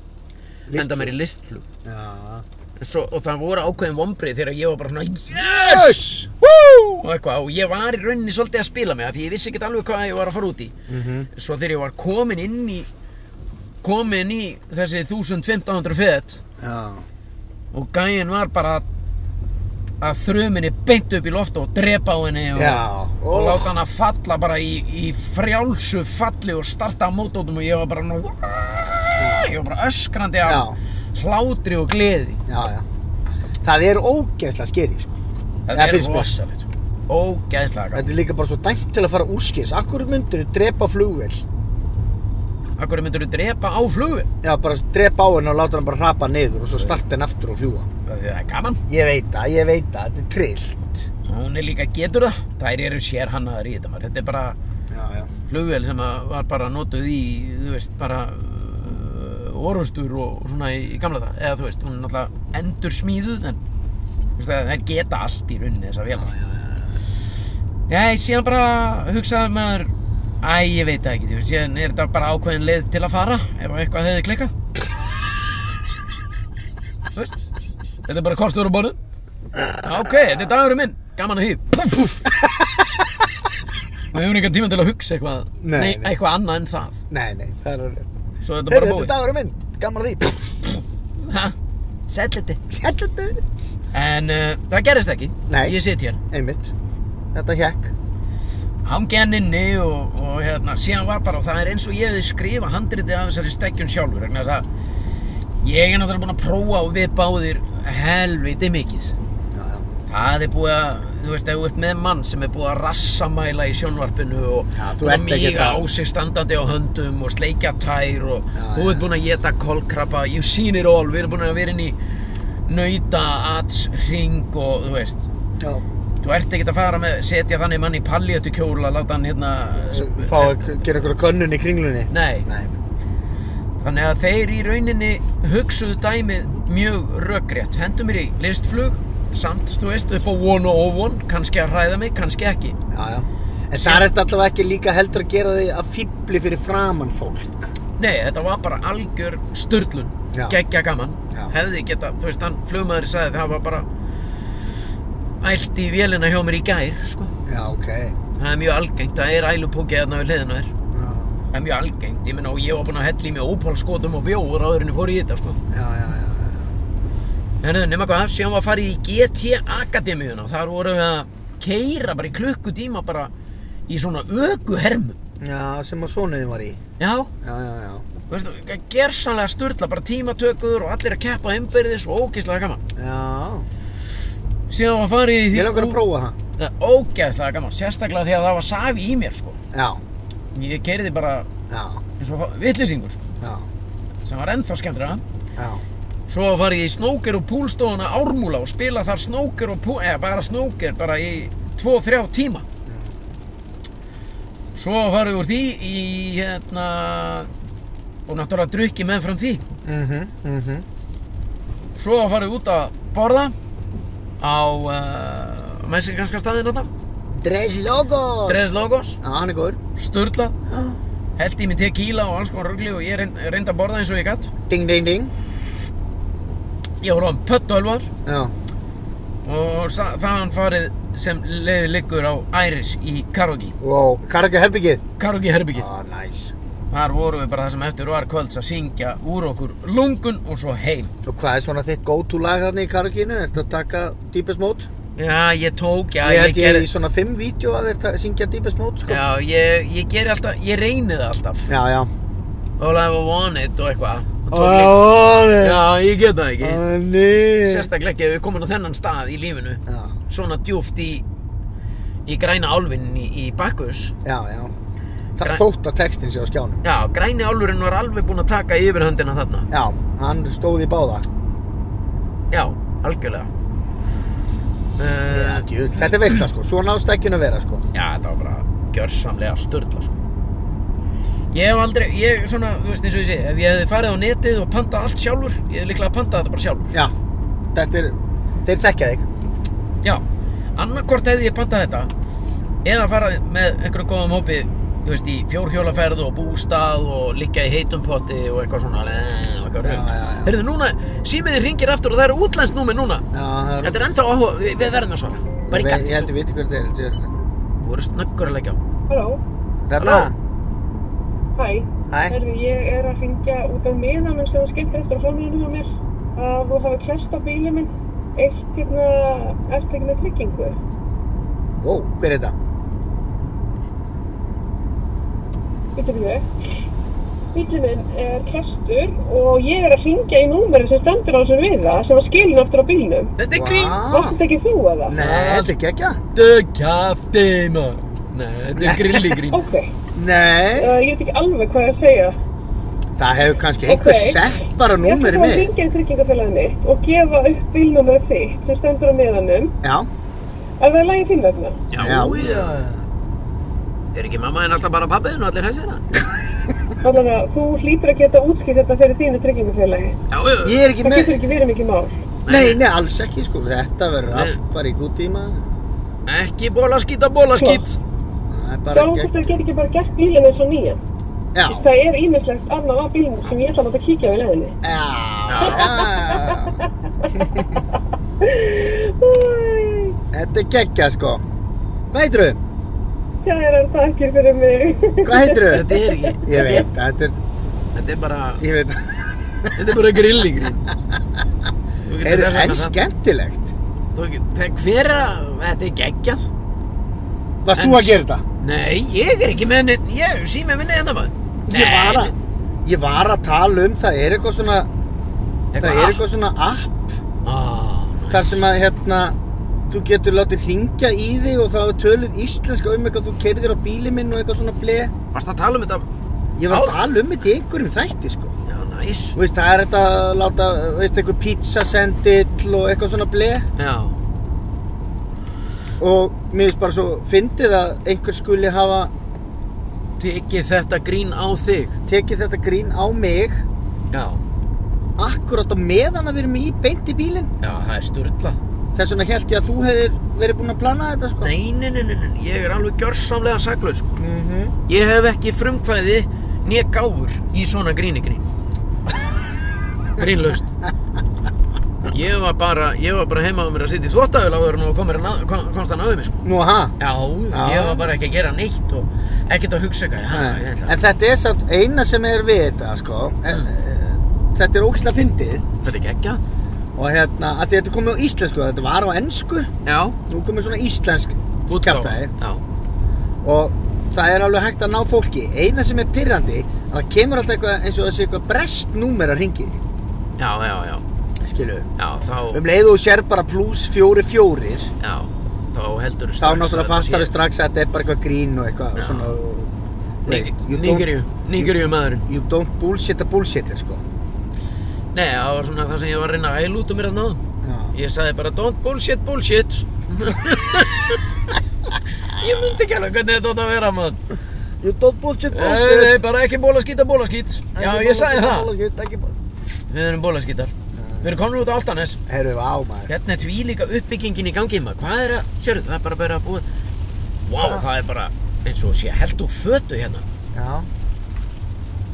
S1: henda mér í listflug.
S2: Já.
S1: Svo, og það voru ákveðin vombrið þegar ég var bara svona
S2: Yes!
S1: og eitthvað og ég var í rauninni svolítið að spila mig af því ég vissi ekkert alveg hvað ég var að fara út í
S2: Mhm.
S1: svo þegar ég var komin inn í komin í þessi 1500 fet
S2: Já.
S1: og gæin var bara að- að þrjuminni beint upp í loft og drepa á henni og,
S2: Já.
S1: og
S2: Ó.
S1: láta hann að falla bara í, í frjálsu falli og starta á mótótum og ég var bara nú, ég var bara öskrandi af
S2: Já.
S1: hlátri og gleði
S2: Já, já. Það er ógeðslega skeri, sko.
S1: það
S2: Það
S1: er
S2: finnst mér.
S1: rosalegt sko. ógæðslega gaman.
S2: Þetta er líka bara svo dæmt til að fara úrskis. Akkur myndur þú drepa flugvél?
S1: Akkur myndur þú drepa á flugvél?
S2: Já, bara drepa á henni og láta henni bara hrapa niður og svo starta henni aftur og fljúa.
S1: Af því Það er gaman.
S2: Ég veit það, ég veit það, þetta er trillt.
S1: Hún er líka getur það. Þær eru sér hannaðar í þetta maður. Þetta er bara
S2: Já, já.
S1: flugvél sem að var bara notuð í, þú veist, bara uh, orustur og svona í, í gamla það. Eða þú veist, hún er náttúrulega endur smíðuð en þú veist, það- þær geta allt í rauninni þessar vélar. Nei, síðan bara hugsaði maður, æ, ég veit það ekki, þú veist, síðan er þetta bara ákveðin leið til að fara ef eitthvað hefði klikkað. Þú veist, þetta er bara kostur á borðu. Ok, þetta er dagurinn minn, gaman að því. Puff, puff. Við höfum engan tíma til að hugsa eitthvað,
S2: Nei,
S1: nei,
S2: nei.
S1: eitthvað annað en það.
S2: Nei, nei, það er rétt.
S1: Svo er þetta
S2: Heyrðu,
S1: bara
S2: þetta er
S1: búið.
S2: dagurinn minn. Gaman að því.
S1: Ha? Sæll þetta.
S2: Þetta er...
S1: En uh, það gerist ekki.
S2: Nei.
S1: Ég sit hér.
S2: Einmitt. Þetta hekk.
S1: hangi hann inni og, og hérna, síðan var bara og það er eins og ég hefði skrifa handritið af þessari stekkjun sjálfur vegna þess að ég er náttúrulega búinn að prófa og við báðir helviti mikið
S2: Já, já.
S1: það er búið að, þú veist, ef þú ert með mann sem er búið að rassamæla í sjónvarpinu og
S2: Já, þú
S1: búinn
S2: ert ekki
S1: míga á
S2: það.
S1: sig standandi á höndum og sleikja tær og
S2: Já,
S1: þú
S2: já.
S1: ert búinn að geta kolkrabba you've seen it all, við erum búin að vera inn í nauta, ats, ring og þú veist
S2: Já.
S1: Þú ert ekkert að fara með, setja þannig mann í palliötu kjól að láta hann hérna... eh,
S2: Fá að gera einhverja könnun í kringlunni.
S1: Nei,
S2: Nei.
S1: þannig að þeir í rauninni hugsuðu dæmið mjög rökrétt. Hendu mér í listflug, samt, þú veist, upp á von og óvon, kannski að hræða mig, kannski ekki.
S2: Já, já. En það er þetta allavega ekki líka heldur að gera þig að fýbli fyrir framann fólk.
S1: Nei, þetta var bara algjör störlun,
S2: Já.
S1: geggja gaman.
S2: Já.
S1: Hefði geta, þú veist, hann flugmaður sagði það var bara ælt í vélina hjá mér í gær, sko.
S2: Já, ok.
S1: Það er mjög algengt, það er ælupókið þarna við hliðina þér.
S2: Já,
S1: Það er mjög algengt, ég meina og ég var búinn að hella í mig ópálskotum og bjóður áður en ég fór í þetta sko.
S2: já, já, já. já.
S1: Herðu, nema hvað, síðan var farið í GT Akademíuna, þar vorum við að keira bara í klukkutíma bara í svona ökuhermu.
S2: Já, sem að sonuðin var í.
S1: Já,
S2: Já, já, já.
S1: þú veistu, gersanlega sturla, bara tímatökur og allir að keppa einbyrðis og ógeðslega gaman.
S2: Já.
S1: Síðan var farið í því...
S2: Ég langar að prófa það.
S1: Það er ógeðslega gaman, sérstaklega því að það var safi í mér sko.
S2: Já,
S1: Ég keiriði bara
S2: já,
S1: eins og vitlýsingur sko,
S2: já,
S1: sem var ennþá skemmtrið
S2: já.
S1: Svo var ég í snóker og púlstofuna ármúla og spila þar snóker og púl, eða bara snóker, bara í 2-3 tíma. Svo farið úr því í, hérna, og náttúrulega drukki meðfram því.
S2: Mhm, mhm.
S1: Svo farið út að borða á uh, mexikanska staðinn þetta,
S2: Dres logo.
S1: Tres Logos,
S2: Já, hann er góður.
S1: Sturla, held í mig tequila og alls konar rugli og ég reynd- reyndi að borða eins og ég gatt.
S2: Ding, ding, ding.
S1: Ég voru á um pöttu ölvar.
S2: Já.
S1: og sa- þaðan farið sem leiði liggur á Iris í Karogi
S2: Wow. Karaka herbyggið.
S1: Karogi herbyggið
S2: Já, næs.
S1: þar vorum við bara það sem eftir var kvölds að syngja úr okkur lungun og svo heim
S2: Og hvað er svona þitt go-to lag þarna í karakinu? Ertu að taka Deepest Mode?
S1: já ég tók já
S2: ég
S1: ég,
S2: held ég
S1: gerði
S2: í svona fimm vídeo að þeir ta- syngja Deepest Mode, sko.
S1: já ég, ég gerði alltaf ég reyni það alltaf
S2: já. já.
S1: all I ever wanted og eitthvað og tók líka.
S2: Ó,
S1: já ég get það ekki
S2: nei.
S1: sérstaklega ekki ef við komin á þennan stað í lífinu
S2: Já,
S1: svona djúft í í græna álfinn í, í Bakkus
S2: já, já. Það
S1: Gra-
S2: þótt að textin sé á skjánum.
S1: já græni álfurinn var alveg búinn að taka yfirhöndina þarna
S2: Já, hann stóð í báða.
S1: Já, algjörlega uh,
S2: Djöfull, Þetta er veistla sko, svona á stækjun að vera sko
S1: Já, þetta var bara gjörsamlega störla sko. Ég hef aldrei, ég svona, þú veist eins og ég sé Ef ég hefði farið á netið og pantað allt sjálfur Ég hefði líklega pantað þetta bara sjálfur
S2: Já, þetta er, þeir þekkja þig
S1: Já, annarkvort hefði ég pantað þetta Eða farið með einhverjum góðum hópi Þú veist, í fjórhjólaferð og bústað Og liggja í heitum potti og eitthvað svona eh, og eitthvað
S2: Já,
S1: rugl.
S2: já, já.
S1: Heyrðu, núna, símiði ringir aftur og það eru útlænst númi núna
S2: Já, það er-
S1: Þetta er ennþá áhuga, við, við verðum að svara Bara í
S2: Ég- Ég
S1: gang,
S2: held að viti hver þetta er
S1: þú voru snöggur að leggja á
S3: Halló,
S2: Rafna,
S3: hæ.
S2: Hæ.
S3: Herðu, ég er að ringja út af miðanum sem þú skemmt eftir á framlýðinu á mér. Að þú hafi klest á bílið minn eitt hérna eftir með tryggingu.
S2: ó, hver er þetta?
S3: Býtum við. Bílið minn er klestur og ég er að ringja í númerið sem stendur á þessum viða sem var skilin eftir á bílnum.
S1: Þetta er
S2: Vá.
S1: grín
S3: Varst þetta ekki þú eða?
S2: Nei, þetta er gekkja
S1: Haltu kjafti maður Nei, þetta er grilligrín
S3: Ok, uh,
S2: Nei,
S3: ég veit ekki alveg hvað ég að segja.
S2: það hefur kannski einhver
S3: Ok.
S2: sett bara númer í
S3: Ég ætla að
S2: mig
S3: ringja í tryggingafélagið mitt og gefa upp bílnúmerið þitt sem stendur á miðanum.
S2: Já,
S3: Er það í lagi þín vegna?
S1: Já,
S2: Já.
S1: já Er ekki mamma þinn alltaf bara pappiðin og allir hessir það?
S3: Þannig að þú hlýtur að geta útskýrt þetta fyrir þínu tryggingafélagi.
S1: Já, já
S2: ég er ekki
S3: Það
S2: með
S3: getur ekki verið mikið mál.
S2: Nei, nei, alls ekki sko, þetta verður
S1: Nei.
S2: allt bara í gútíma
S1: Ekki bólaskýta, bólaskýt
S2: Sko. Það er bara
S3: Sjálfum þetta
S2: gekkja
S3: getur ekki bara gert bílinn eins og nýjan.
S2: Já,
S3: Það er ímislegt annað á bílinn sem ég ætla að láta kíkja á í leðinni.
S2: já, já Þetta er gekkja sko Hvað heitir þau?
S3: Það er að takkir fyrir mig.
S2: Hvað heitir þau?
S1: Þetta er ekki
S2: Ég veit, þetta er,
S1: Þetta er bara
S2: ég veit
S1: Þetta er bara grilligrín
S2: Er það enn skemmtilegt?
S1: skemmt Hver er að Þetta er geggjað
S2: Varst
S1: En-
S2: þú að gera þetta?
S1: Nei, ég er ekki með neitt Ég sími minni þetta maður
S2: Ég var að, ég var að tala um það er eitthvað svona, það
S1: Ah.
S2: er eitthvað svona app
S1: eitthvað
S2: þar sem að hérna, þú getur látið hringja í þig og þá er töluð íslenska um eitthvað, þú kerðir á bíli minn og eitthvað svona ble.
S1: Varst að tala um þetta?
S2: Ég var að
S1: Á-
S2: tala um þetta í einhverjum þætti sko.
S1: Já, næs
S2: Þú veist, það er þetta að láta, veist, eitthvað pizzasendill og eitthvað svona ble
S1: Já
S2: og mér finnst bara svo fyndið að einhver skuli hafa
S1: Tekið þetta grín á þig
S2: tekið þetta grín á mig
S1: Já
S2: akkurat á meðan að við erum í beint í bílinn.
S1: Já, það er sturlað.
S2: Þess vegna held ég að þú hefðir verið búinn að plana þetta sko.
S1: Nei, nei, nei, nei, nei, ég er alveg gjörsamlega saklaus.
S2: Mm
S1: Ég hef ekki frumkvæði né gáfur í svona grínigrín. Grínlaust. Ég var bara, ég var bara heima á mér að sitja í þvóttavél áður en þú komir hann að, kom, komst hann að mig, sko.
S2: Nú, ha?
S1: Já,
S2: Já.
S1: ég var bara ekki að gera neitt og ekkert að hugsa eitthvað. Já, ég ætla.
S2: En þetta er samt eina sem er við þetta, sko. En, mm. Þetta er ógislega fyndið
S1: Þetta er geggja.
S2: og hérna, að því þetta er komið á íslensku, þetta var á ennsku,
S1: Já,
S2: nú er komið svona íslensk kjátæði
S1: Já,
S2: og það er alveg hægt að ná fólki. Eina sem er pirrandi, að það kemur alltaf eitthvað eins og þessi eitthvað brest númer að ringi,
S1: já, já, já,
S2: skilu.
S1: já, þá,
S2: Um leið og þú sér bara pluss fjóri fjórir,
S1: já, þá heldur
S2: þá náttúrulega fattar við strax að þetta er bara eitthvað grín og eitthvað
S1: Já.
S2: svona, og- þú veist, you don't-
S1: Nýgerju, nýgerju maðurinn.
S2: You don't bullshit a bullshitter, sko.
S1: Nei, það var svona það sem ég var að reyna að hæla út um mér að náðum.
S2: Já.
S1: Ég sagði bara don't bullshit bullshit. ég myndi ekki alveg hvernig þetta átt að vera maður.
S2: You don't bullshit
S1: Nei,
S2: bullshit.
S1: nei, bara ekki bólaskýta bólaskýt. Eh, Já, ég sagði það. Við erum bólaskýtar. Við erum komin út á Altanes.
S2: Herru, á maður.
S1: Hérna er því líka uppbyggingin í gangi maður. Hvað er að, sérðu, það er bara bara að búa. Vá, það er bara eins og sé held og fötu hérna.
S2: Já,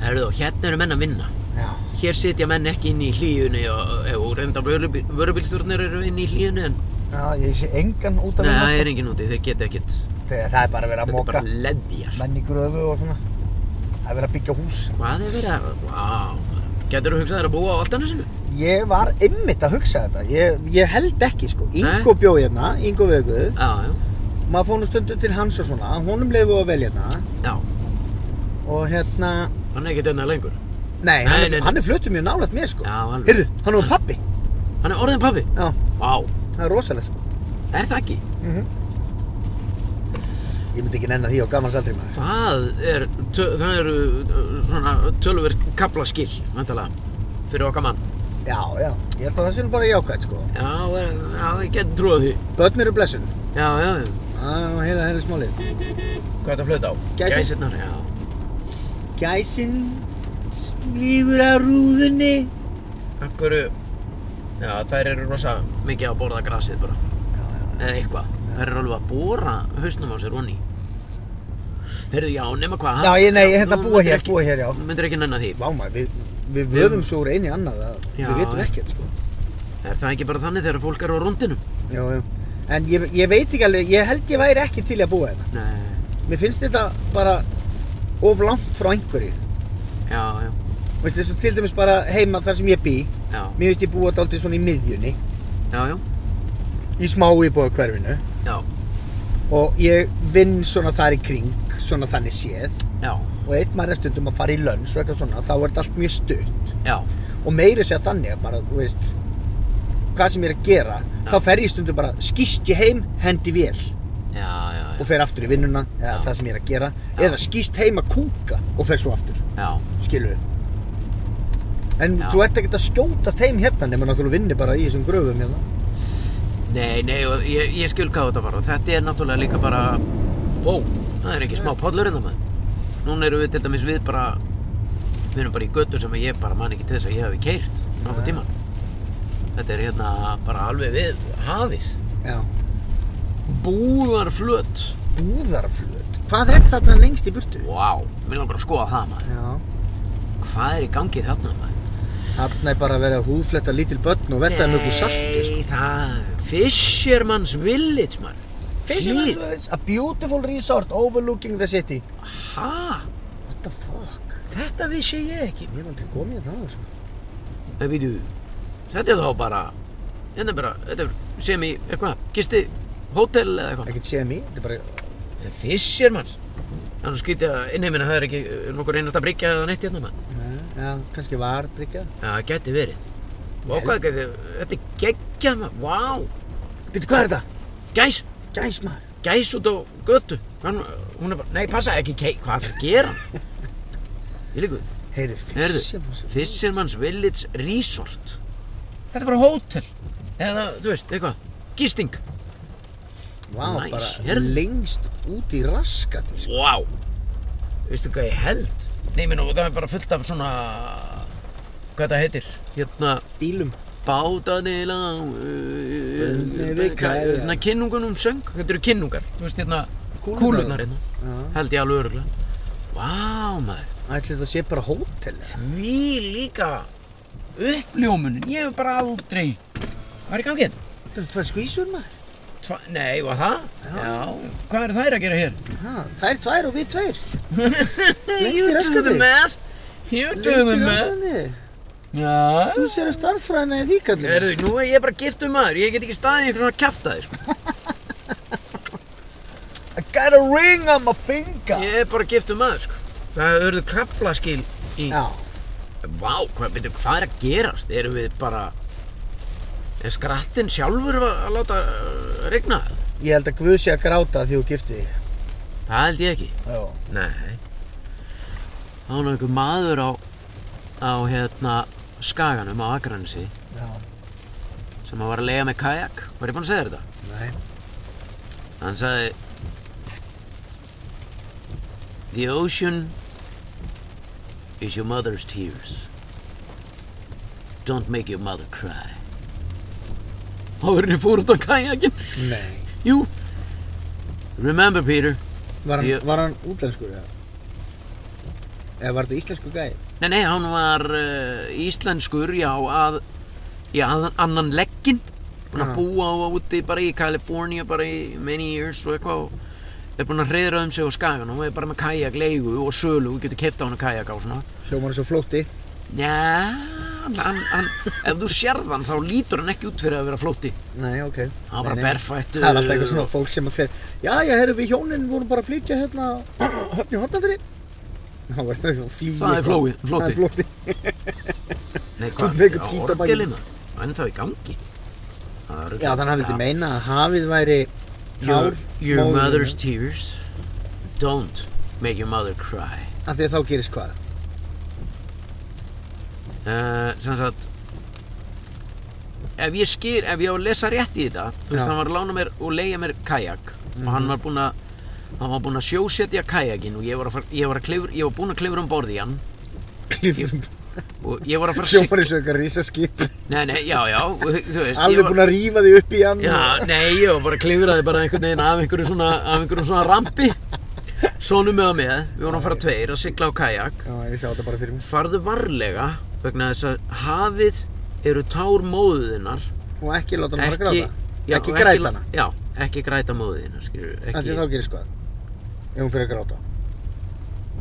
S1: Herðu, og hérna eru menn að vinna.
S2: já.
S1: Hér sitja menn ekki inn í hlíjunni og, og reynda vörubílsturnir eru inn í hlíjunni en
S2: Já, ég sé engan út af
S1: Nei, það
S2: vinna.
S1: er engin úti, þeir geta ekkert
S2: Þegar það er bara verið að
S1: Þetta er
S2: móka
S1: bara leðjar
S2: menn í gröfu og svona. Það er verið að byggja hús.
S1: Hvað er verið að... Vá, getur þú hugsað þér að búa á Altanesinu?
S2: Ég var ymmit að hugsa þetta. Ég, ég held ekki, sko. Ingo bjó hérna, Ingo Vögu.
S1: Já, já,
S2: Maður fór nú stundu til hans og svona. Honum leifu að velja hérna.
S1: já,
S2: Og hérna...
S1: hann er ekkert einna lengur
S2: Nei, hann,
S1: Nei,
S2: er,
S1: nei, nei.
S2: hann er flötum mjög nálægt mér, sko.
S1: Já, alveg.
S2: Heyrðu, hann er pappi.
S1: Hann er orðin pabbi
S2: Já,
S1: Vá,
S2: það er rosalegt, sko.
S1: er það ekki?
S2: Ég myndi ekki nennan því á gamans aldrei maður.
S1: Það er, tö, það eru uh, svona tölver kaplaskill, vantalega Fyrir okkar mann
S2: Já, já, ég held að það sé nú bara jákvæmt sko.
S1: Já, eh, já, ég geti trúið því.
S2: Börn eru blessun.
S1: Já, já, já.
S2: Það er nú heila heila smálið.
S1: Hvað er þetta að flöta á?
S2: Gæsir.
S1: Gæsirnar, já.
S2: Gæsin flýgur á rúðunni.
S1: Akkur, já, þær eru rosa mikið að borða grasið bara.
S2: Já, já,
S1: Eða eitthvað. Þær eru alveg að bóra hausnum á sér onni. Heyrðu, já, nema hvað.
S2: Já, ég- nei, ég hérna
S1: þú
S2: búa
S1: myndir
S2: hér,
S1: ekki-
S2: búa hér, já.
S1: Þú myndir ekki nennan því.
S2: Vá maður, við, við vöðum svo úr einu í annað að
S1: Já,
S2: við vitum
S1: já.
S2: ekkert sko.
S1: Er það ekki bara þannig þegar fólk eru á rúndinum?
S2: Já, já. En ég, ég veit ekki alveg, ég held ég væri ekki til í að búa hérna.
S1: Nei,
S2: Mér finnst þetta bara of langt frá einhverju.
S1: já, já,
S2: Veistu, þessu til dæmis bara heima þar sem ég bý.
S1: já,
S2: Mér finnst ég búa dálítið svona í miðjunni,
S1: já, já,
S2: í smá íbúa hverfinu.
S1: já,
S2: Og ég vinn svona þar í kring, svona þannig séð.
S1: já,
S2: Og eitt maður er stundum að fara í lönns og eitthvað svona, þá er þetta allt mjög stutt.
S1: já,
S2: Og meiri segja þannig að bara, þú veist, hvað sem ég er að gera, þá fer ég stundum bara, skýst ég heim, hendi vél.
S1: já, já,
S2: og fer aftur í vinnuna eða
S1: Já.
S2: það sem ég er að gera
S1: Já.
S2: eða skýst heima kúka og fer svo aftur
S1: já,
S2: skilur en
S1: Já.
S2: þú ert ekkert að skjótast heim hérna nema náttúrulega vinni bara í þessum gröfum hérna
S1: nei, nei, og ég, ég skil hvað þetta var og þetta er náttúrulega líka bara, ó, það er ekki smá pollur en það maður. Núna erum við til dæmis við bara, við erum bara í göttu sem ég bara man ekki til þess að ég hafi keirt nokkuð tíman. Þetta er hérna bara alveg við hafið,
S2: já.
S1: búðarflöt,
S2: búðarflöt hvað er þarna lengst í burtu?
S1: vá, mér langar að skoða það maður.
S2: já
S1: Hvað er í gangi þarna maður?
S2: þarna er bara að vera að húðfletta lítil börn og vetta um ykkur salti sko.
S1: Nei, það Fisherman's Village, mann Hlíð.
S2: a beautiful resort overlooking the city
S1: Ha?
S2: what the fuck
S1: Þetta vissi ég ekki
S2: ég hef aldrei komið hérna áður, sko.
S1: Það Eh, veitu, þetta er þá bara Þetta er bara, þetta er sem í eitthvað Gisti, hótel eða eitthvað
S2: ekkert séð mér þetta er bara
S1: En Fisherman's Þannig skrítið að innheimin að það er ekki er nokkur einasta bryggja eða neitt hérna maður
S2: Nei, já, kannski var bryggjað
S1: Já, það geti verið Og hvað geti, þetta er geggja maður Vá,
S2: Býttu, hvað er þetta?
S1: gæs,
S2: Gæs maður
S1: gæs út á götu Hann, Hún er bara, nei passa ekki kei, hvað er að gera Ég líku
S2: Heyri,
S1: Herðu,
S2: fisjum
S1: Fisherman's Village Resort Þetta er bara hótel Eða, þú veist, eitthvað Gisting
S2: Vá,
S1: Næs,
S2: bara
S1: heyrðu.
S2: lengst út í raskati sko.
S1: Vá Veistu hvað ég held? Nei, minn, og það er bara fullt af svona Hvað það heitir? Hérna
S2: Bílum
S1: Bátaði lág
S2: við kæjar.
S1: Hérna kinnungunum söng Þetta eru kinnungar Þú veist, hérna
S2: Kúlurnar.
S1: Kúlurnar hérna
S2: Já.
S1: Held ég alveg öruglega Vá, maður
S2: Ætli þetta sé bara hótel eða?
S1: Því líka Uppljómunin Ég hef bara aldrei Hvað er í gangið?
S2: Þetta er tvær skvísur maður
S1: Tva, nei, var það? Já. Hvað eru þær að gera hér?
S2: ha, Þær tvær og við tveir
S1: you do the
S2: rassgatið.
S1: math. You do the math.
S2: raskati
S1: Já.
S2: Þú sér að starffræðina í því kallið
S1: Erðu, nú er ég bara giftu maður. Ég get ekki staðið í einhver svona kjaftaði, sko.
S2: I got a ring on my finger
S1: Ég er bara giftu maður, sko. Það eruðu kraflaskil í...
S2: Já,
S1: Vá, hvað, veitum, hvað er að gerast? Erum við bara... Er skrattinn sjálfur að að láta uh, regna?
S2: ég held að Guð sé að gráta því þú gifti þig
S1: Það held ég ekki.
S2: Já,
S1: Nei. Það var nú einhver maður á, á hérna, skaganum á Akranesi.
S2: já,
S1: sem að var að leiða með kajak var ég búinn að segja þér þetta?
S2: nei
S1: hann sagði The ocean is your mother's tears Don't make your mother cry Háðurinn fór út á kajakin
S2: Nei
S1: Jú Remember Peter
S2: Var hann,
S1: Ég-
S2: var hann útlenskur eða? Eða var þetta íslensku gæi?
S1: Nei, nei, hann var uh, íslenskur, já, að, já, að annan leggin búinn að
S2: Já.
S1: búa á úti bara í Kaliforníu bara í many years og eitthvað og er búinn að hreiðra um sig á skagan og er bara með kajak leigu og sölu og getur kefta hann að kajak á svona
S2: Hljómar eins og flótti
S1: Já, hann, hann, hann ef þú sérð hann þá lítur hann ekki út fyrir að vera flótti
S2: Nei, ok
S1: Hann var
S2: Nei,
S1: bara
S2: nei.
S1: berfættur
S2: Það er alltaf eitthvað svona fólk sem að fer Já, já, herru, við hjónin vorum bara að flytja hérna Höfni Hortnafri Ná, var það að flýja
S1: Það er
S2: eitthvað.
S1: flói- flóti.
S2: Það er flóti
S1: Nei,
S2: Þú ert með einhvern
S1: Já,
S2: skít á bakinu.
S1: orgelina, ennþá í gangi Það eru-
S2: Já, þannig að hann vildi meina að hafið væri
S1: Your,
S2: hár
S1: your
S2: móðurinnar.
S1: mother's tears don't make your mother cry
S2: Af því að þá gerist hvað?
S1: uh, sem Eh, sagt ef ég skýr, ef ég á að lesa rétt í þetta þú veist,
S2: Já. Mhm.
S1: hann var að lána mér og leiða mér kajak og hann var búinn að hann var búinn að sjósetja kajakin og ég var, að fara, ég var, að klifur, ég var búinn að klifra um borð í hann
S2: Klifur
S1: og ég var að fara að sigla
S2: Sjópar eins og eitthvað risaskip
S1: nei, nei, já, já, og þú veist ég
S2: Alveg
S1: var,
S2: búin að rífa þig upp í hann
S1: Já, nei, ég var bara að klifraði bara einhvern veginn af einhverjum svona, af einhverjum svona rampi Sónu með að með, við vorum að fara tveir að sigla á kajak
S2: Já, ég sjá þetta bara fyrir mér
S1: Farðu varlega vegna þess að hafið eru tár móðuðinnar
S2: Og ekki láta hann fara að
S1: Ekki,
S2: gráta
S1: já,
S2: Ekki
S1: og
S2: græta hana
S1: Já, ekki græta móðuðina, skilur
S2: Þannig
S1: ekki,
S2: þá gerir sko það Ef hún fyrir að gráta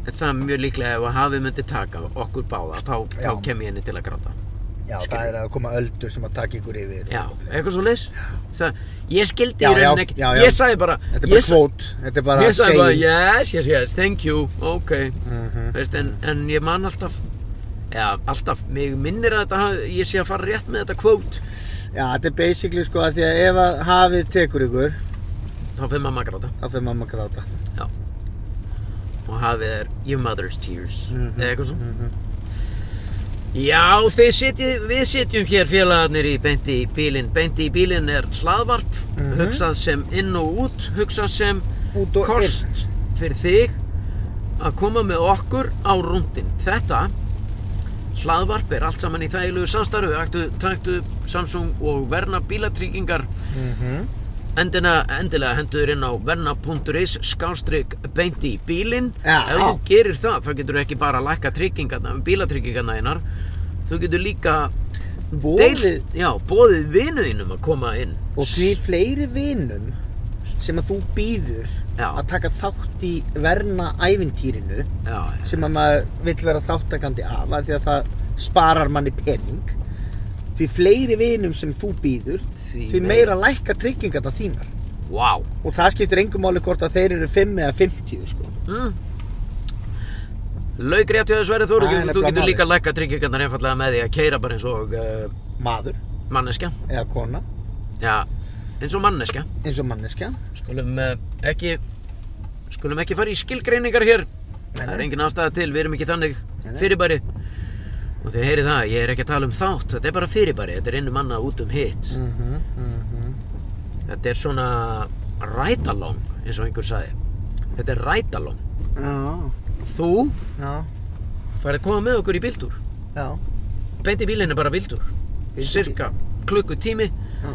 S1: Það er mjög líklega ef að hafið myndi taka okkur báða þá, þá
S2: Já.
S1: kem ég henni til að gráta
S2: Já, það er að koma öldur sem að taka ykkur yfir
S1: Já, eitthvað svo leys Það, ég skildi
S2: Já,
S1: í rauninni
S2: já,
S1: ekki
S2: já, já.
S1: Ég sagði bara
S2: Þetta er bara
S1: ég sa-
S2: kvót Þetta er bara
S1: Ég
S2: að
S1: sagði bara,
S2: segja
S1: yes, yes, yes, thank you, ok
S2: Mhm.
S1: Veist, en, en ég man alltaf Já, alltaf, mig minnir að þetta hafi- ég sé að fara rétt með þetta kvót
S2: Já, þetta er basically sko að því að ef að hafið tekur ykkur
S1: Þá fyrir mamma að gráta
S2: þá fyrir mamma að gráta
S1: Og hafið er your mother's tears
S2: Mhm,
S1: Eða eitthvað svo Já, þið sitjið, við sitjum hér félagarnir í beinti í bílinn Beinti í bílinn er hlaðvarp
S2: Mhm.
S1: Hugsað sem inn og út Hugsað sem
S2: Út og
S1: kost fyrir þig að koma með okkur á rúndin. Þetta hlaðvarp er allt saman í þægilegu samstarfi, aktu, taktu Samsung og Verna bílatryggingar.
S2: mm
S1: Endina, endilega hendur inn á verna.is skástrík beint í bílinn.
S2: Já.
S1: Ef þú gerir það, þá getur þú ekki bara að lækka tryggingarna, bílatryggingarna einar. Þú getur líka
S2: Bóðið
S1: deilt- já, bóðið vinuðinum að koma inn.
S2: Og því fleiri vinum sem að þú býður
S1: Já.
S2: að taka þátt í verna ævintýrinu
S1: Já, já.
S2: sem að maður vill vera þáttakandi af af því að það sparar manni pening því fleiri vinum sem þú býður
S1: Því
S2: því, meira lækka tryggingarna þínar
S1: Vá. Wow.
S2: og það skiptir engum máli hvort að þeir eru 5 eða 50 sko.
S1: Mm. Lauk rétt hjá þess verið Þóru,
S2: Það
S1: þú
S2: er nefnilega
S1: getur
S2: málið.
S1: líka að lækka tryggingarnar einfallega með því að keira bara eins og uh,
S2: maður
S1: manneskja.
S2: eða kona
S1: Já, eins og manneskja.
S2: eins og manneskja
S1: Skulum uh, ekki, skulum ekki fara í skilgreiningar hér.
S2: Nei,
S1: Það er
S2: nei.
S1: engin ástæða til, við erum ekki þannig
S2: nei.
S1: fyrirbæri. Og þið heyrið það, ég er ekki að tala um þátt, þetta er bara fyrirbæri, þetta er einu manna út um hitt.
S2: mm -hmm, mm -hmm.
S1: Þetta er svona rætalong, eins og einhver sagði. Þetta er rætalong.
S2: Já,
S1: Þú
S2: já,
S1: farið að koma með okkur í bíltúr.
S2: já,
S1: beint í bílinn er bara vildur cirka klukkutími
S2: já.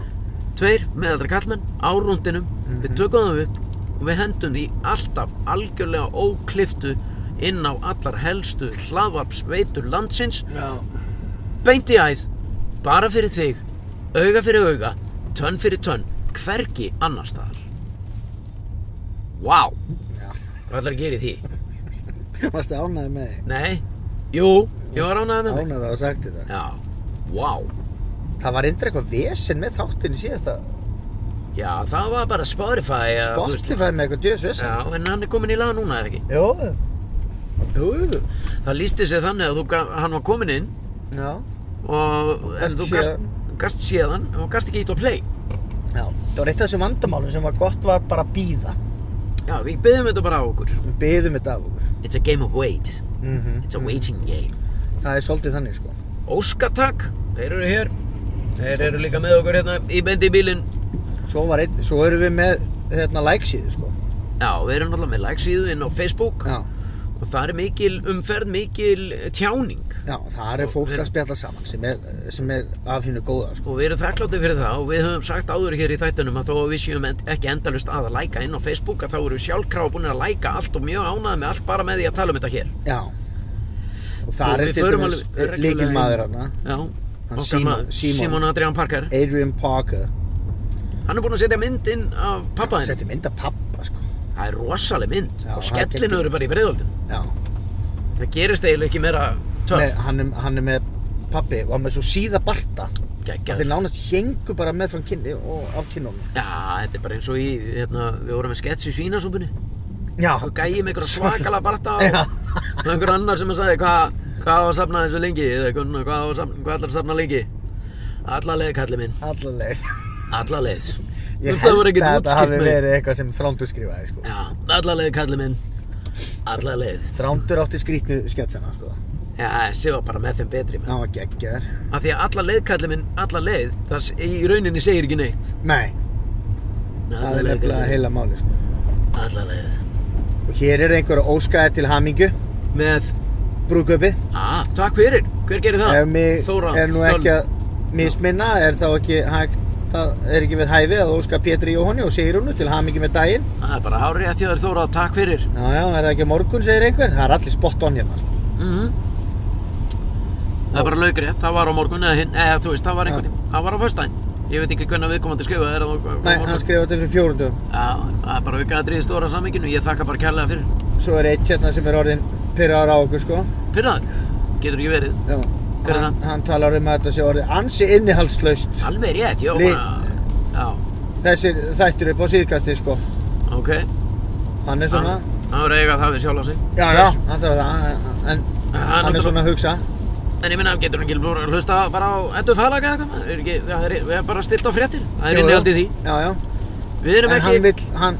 S1: tveir meðaldra kallmenn á rúndinum við tökum það upp og við hendum því alltaf algjörlega ókliftu inn á allar helstu hlaðvarpsveitur landsins
S2: Já.
S1: beint í æð bara fyrir þig, auga fyrir auga tönn fyrir tönn, hvergi annar staðar Vá, wow.
S2: Já.
S1: hvað ætlar að gera í því?
S2: Varstu ánægði með þig?
S1: Nei, jú, ég var ánægð með mig
S2: Ánægði að hafa sagt þetta.
S1: Já, vá wow.
S2: Það var reyndar eitthvað vesen með þáttinni síðasta.
S1: Já, það var bara Spotify eða, þú veist,
S2: Spotify með eitthvað djöðs vesen.
S1: Já, en hann er komin í lag núna eða ekki
S2: Jó. Jú. jú.
S1: Það lísti sér þannig að þú, ga- hann var komin inn
S2: Já.
S1: og en
S2: Gast
S1: þú
S2: séð.
S1: gast, gast séðan og gast ekki ít á play
S2: Já. Það var eitt af þessum vandamálum sem var gott var bara að býða.
S1: Já, við byggðum þetta bara á okkur
S2: Við byðum þetta af okkur.
S1: It's a game of wait
S2: Mm
S1: It's a waiting game
S2: Það er svolítið þannig sko.
S1: Óskatak, þeir eru hér Þeir eru líka með okkur hérna í bendi í bílinn
S2: Svo, var einn, svo erum við með hérna like-síðu sko.
S1: Já, við erum náttúrulega með lagsíðu inn á Facebook
S2: Já.
S1: og það er mikil umferð, mikil tjáning
S2: Já, það er fólk
S1: við-
S2: að spjalla saman sem er, sem er af hennu góða sko.
S1: og við erum þakkláttið fyrir það og við höfum sagt áður hér í þættunum að þó að við séum en- ekki endalust að að læka inn á Facebook að þá erum við sjálfkrafa búin að læka allt og mjög ánæði með allt bara með því að tala um þetta hér
S2: Já. Og það
S1: Og
S2: er
S1: við
S2: til
S1: förum
S2: dæmis
S1: alveg reglulega
S2: líkil maður
S1: inn.
S2: hana.
S1: Já,
S2: Hann
S1: okkar
S2: Símon-
S1: maður,
S2: Símon.
S1: Símon Adrian Parker
S2: Adrian Parker.
S1: Hann er búin að setja mynd inn af pappa henni
S2: Setti mynd af pappa sko.
S1: Það er rosaleg mynd
S2: Já,
S1: og
S2: það er
S1: skellinu
S2: geggjað.
S1: eru bara í breiðoldin
S2: Já.
S1: Það gerist eiginlega ekki meira
S2: Nei,
S1: töff
S2: hann, er, hann er með pappi og hann er með svo síða barta að
S1: Geggjað.
S2: þeir nánast hengu bara með fram kynni og af kynnum
S1: Já, þetta er bara eins og í, hérna, við vorum með sketch í svínasúpunni
S2: Já,
S1: og gæði með einhverja svakala barta
S2: Já.
S1: og og einhver annar sem að sagði hvað hva á að safna þessu lengi eða hvað, hvað, á að safna, hvað ætlar að safna lengi alla leið kalli minn,
S2: allaleg
S1: alla leið
S2: Ég
S1: Um
S2: held
S1: voru
S2: að
S1: ekkert
S2: þetta
S1: útskýrt
S2: hafi
S1: með-
S2: verið eitthvað sem Þrándur skrifaði sko.
S1: já, alla leið kalli minn alla leið
S2: Þrándur átti skrýtnu sketsena sko.
S1: Já, þessi var bara með þeim betri með.
S2: Það var geggjar.
S1: Af því að alla leiðkalli minn, alla leið, það s- í rauninni segir ekki neitt.
S2: Nei, það er nefnilega heila máli sko.
S1: Alla leið.
S2: Og hér er einhver að óskaði til hamingju,
S1: Með,
S2: brúköpi.
S1: að, takk fyrir. Hver gerir það?
S2: Ef mig
S1: Þóra,
S2: er nú ekki að misminna, er þá ekki hægt, það er ekki við hæfi að óska Pétri Jóhanni og Sigrúnu til hamingju með daginn.
S1: Það er bara hárið eftir þér Þóra, takk fyrir.
S2: Já, já, er það ekki á morgun, segir einhver. Það er allir spot on hérna sko.
S1: Mm Það er bara laugrétt, það var á morgun eða hinn, eða þú veist, það var einhvern
S2: Já.
S1: tímann. Það var á föstudaginn. Ég veit ekki hvernig viðkomandi skrifaði þér á morgun.
S2: Nei, hann skrifaði þetta fyrir fjórundum.
S1: Já, það er bara aukað að dríða stóra samminginu, ég þakka bara kærlega fyrir.
S2: Svo er eitt hérna sem er orðin pyrraðar á okkur sko.
S1: Pyrraður, getur ekki verið.
S2: Já.
S1: Hver er
S2: Hann,
S1: það?
S2: hann talar um að þetta sé orðið ansi innihaldslaust.
S1: Alveg rétt, já,
S2: Lit.
S1: bara, já,
S2: Þessir þættir upp á síðkasti sko.
S1: ok.
S2: Hann er svona,
S1: Hann hann verður að eiga það við sjálf á sig.
S2: já, já, hann talar um það, en- en hann er
S1: náttúrulega-
S2: svona að hugsa.
S1: En ég minna, getur hann ekki bara að hlusta bara á Eddu Falaga eða eitthvað? Er ekki- Það er, við erum bara stilt á fréttir, það er
S2: Jú, jú.
S1: innihaldið í því.
S2: Já, já.
S1: Við erum
S2: En hann
S1: ekki,
S2: vill, hann,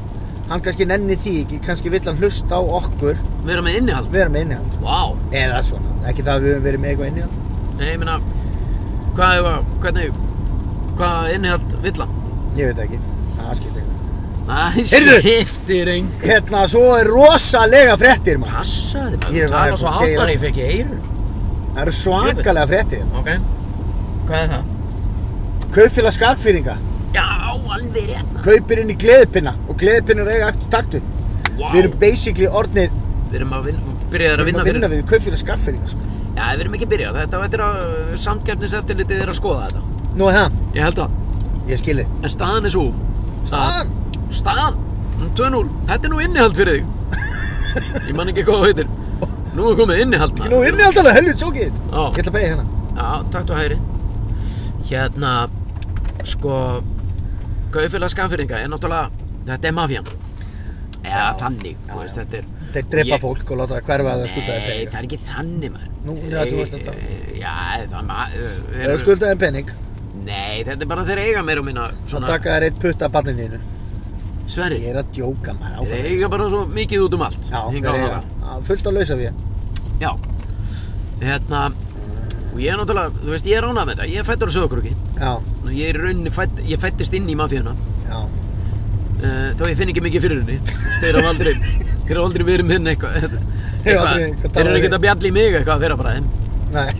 S2: hann kannski nenni því ekki, kannski vill hann hlusta á okkur
S1: við erum með innihald.
S2: vera með innihald.
S1: Vá,
S2: Eða svona, ekki það að við höfum verið með eitthvað innihald.
S1: nei, ég minna, hvað er, hvernig, hvað innihald vill hann?
S2: Ég veit ekki, það skiptir eitthvað.
S1: Nei,
S2: Heyrðu!
S1: skiptir einn.
S2: Hérna, svo er rosalega fréttir maður.
S1: Passaði,
S2: Ég
S1: maður
S2: var hérna
S1: tala svo
S2: búinn að keyra.
S1: hátnar, ég fekk ég eirun.
S2: Það eru svakalega fréttir hérna.
S1: Ok, hvað er það?
S2: Kaupfélag skakfýringa,
S1: Já, alveg rétt.
S2: kaupir inn í gleðipinna og gleðipinnar eiga akt og taktu.
S1: Vá.
S2: Við erum basically orðnir,
S1: Við erum að vinna, byrjaðir að
S2: við erum
S1: vinna
S2: að vinna
S1: fyrir.
S2: fyrir kaupfélag skakfýringa sko.
S1: Já, við erum ekki byrjað. Þetta þetta er að samkjöfniseftilitið er að skoða þetta.
S2: Nú er það,
S1: Ég held að.
S2: ég skilði.
S1: En staðan er svo.
S2: Staðan?
S1: Staðan. Mm, 2-0. Þetta er nú innihald fyrir þig. Ég man ekki hvað þú heitir. Nú er komið innihald. maður.
S2: Nú innihaldalega helvut sókið.
S1: Já.
S2: Ég ætla að beigja hérna.
S1: Já, takt og hægri Hérna, sko Kaufélag skafyrringa er náttúrulega Þetta er mafjan Já, þannig, þú veist, þetta er
S2: Þeir drepa
S1: Ég-
S2: fólk og láta það hverfa að það skulda þeim
S1: Nei,
S2: peninga.
S1: það er ekki þannig maður Eh,
S2: Nú, já, þú veist þetta.
S1: Já, það maður
S2: Þeir skulda þeim pening,
S1: Nei, þetta er bara þeir eiga meira og minna
S2: Svo
S1: Svona,
S2: taka þær eitt putta af barninu þínu.
S1: Sverri
S2: Ég er að djóka maður áfram.
S1: Þeir eiga bara svo mikið út um allt
S2: Já,
S1: hingað
S2: þeir
S1: og
S2: eru
S1: þangað.
S2: Já, fullt á lausa við.
S1: Já, hérna Og ég er náttúrulega, þú veist, ég er ánað með þetta Ég er fættur á sögurkrukki
S2: Já,
S1: Ég er í rauninni, fætt, ég fættist inn í mafíuna
S2: já.
S1: Eh, þó ég finn ekki mikið fyrir henni þeir hafa aldrei, þeir hafa aldrei verið með henni eitthvað
S2: Þeir hafa
S1: eitthvað,
S2: aldrei- hvað
S1: þeir
S2: talaðu
S1: eru
S2: við?
S1: ekkert að bjalla í mig eitthvað þeirra bara þeim
S2: Nei.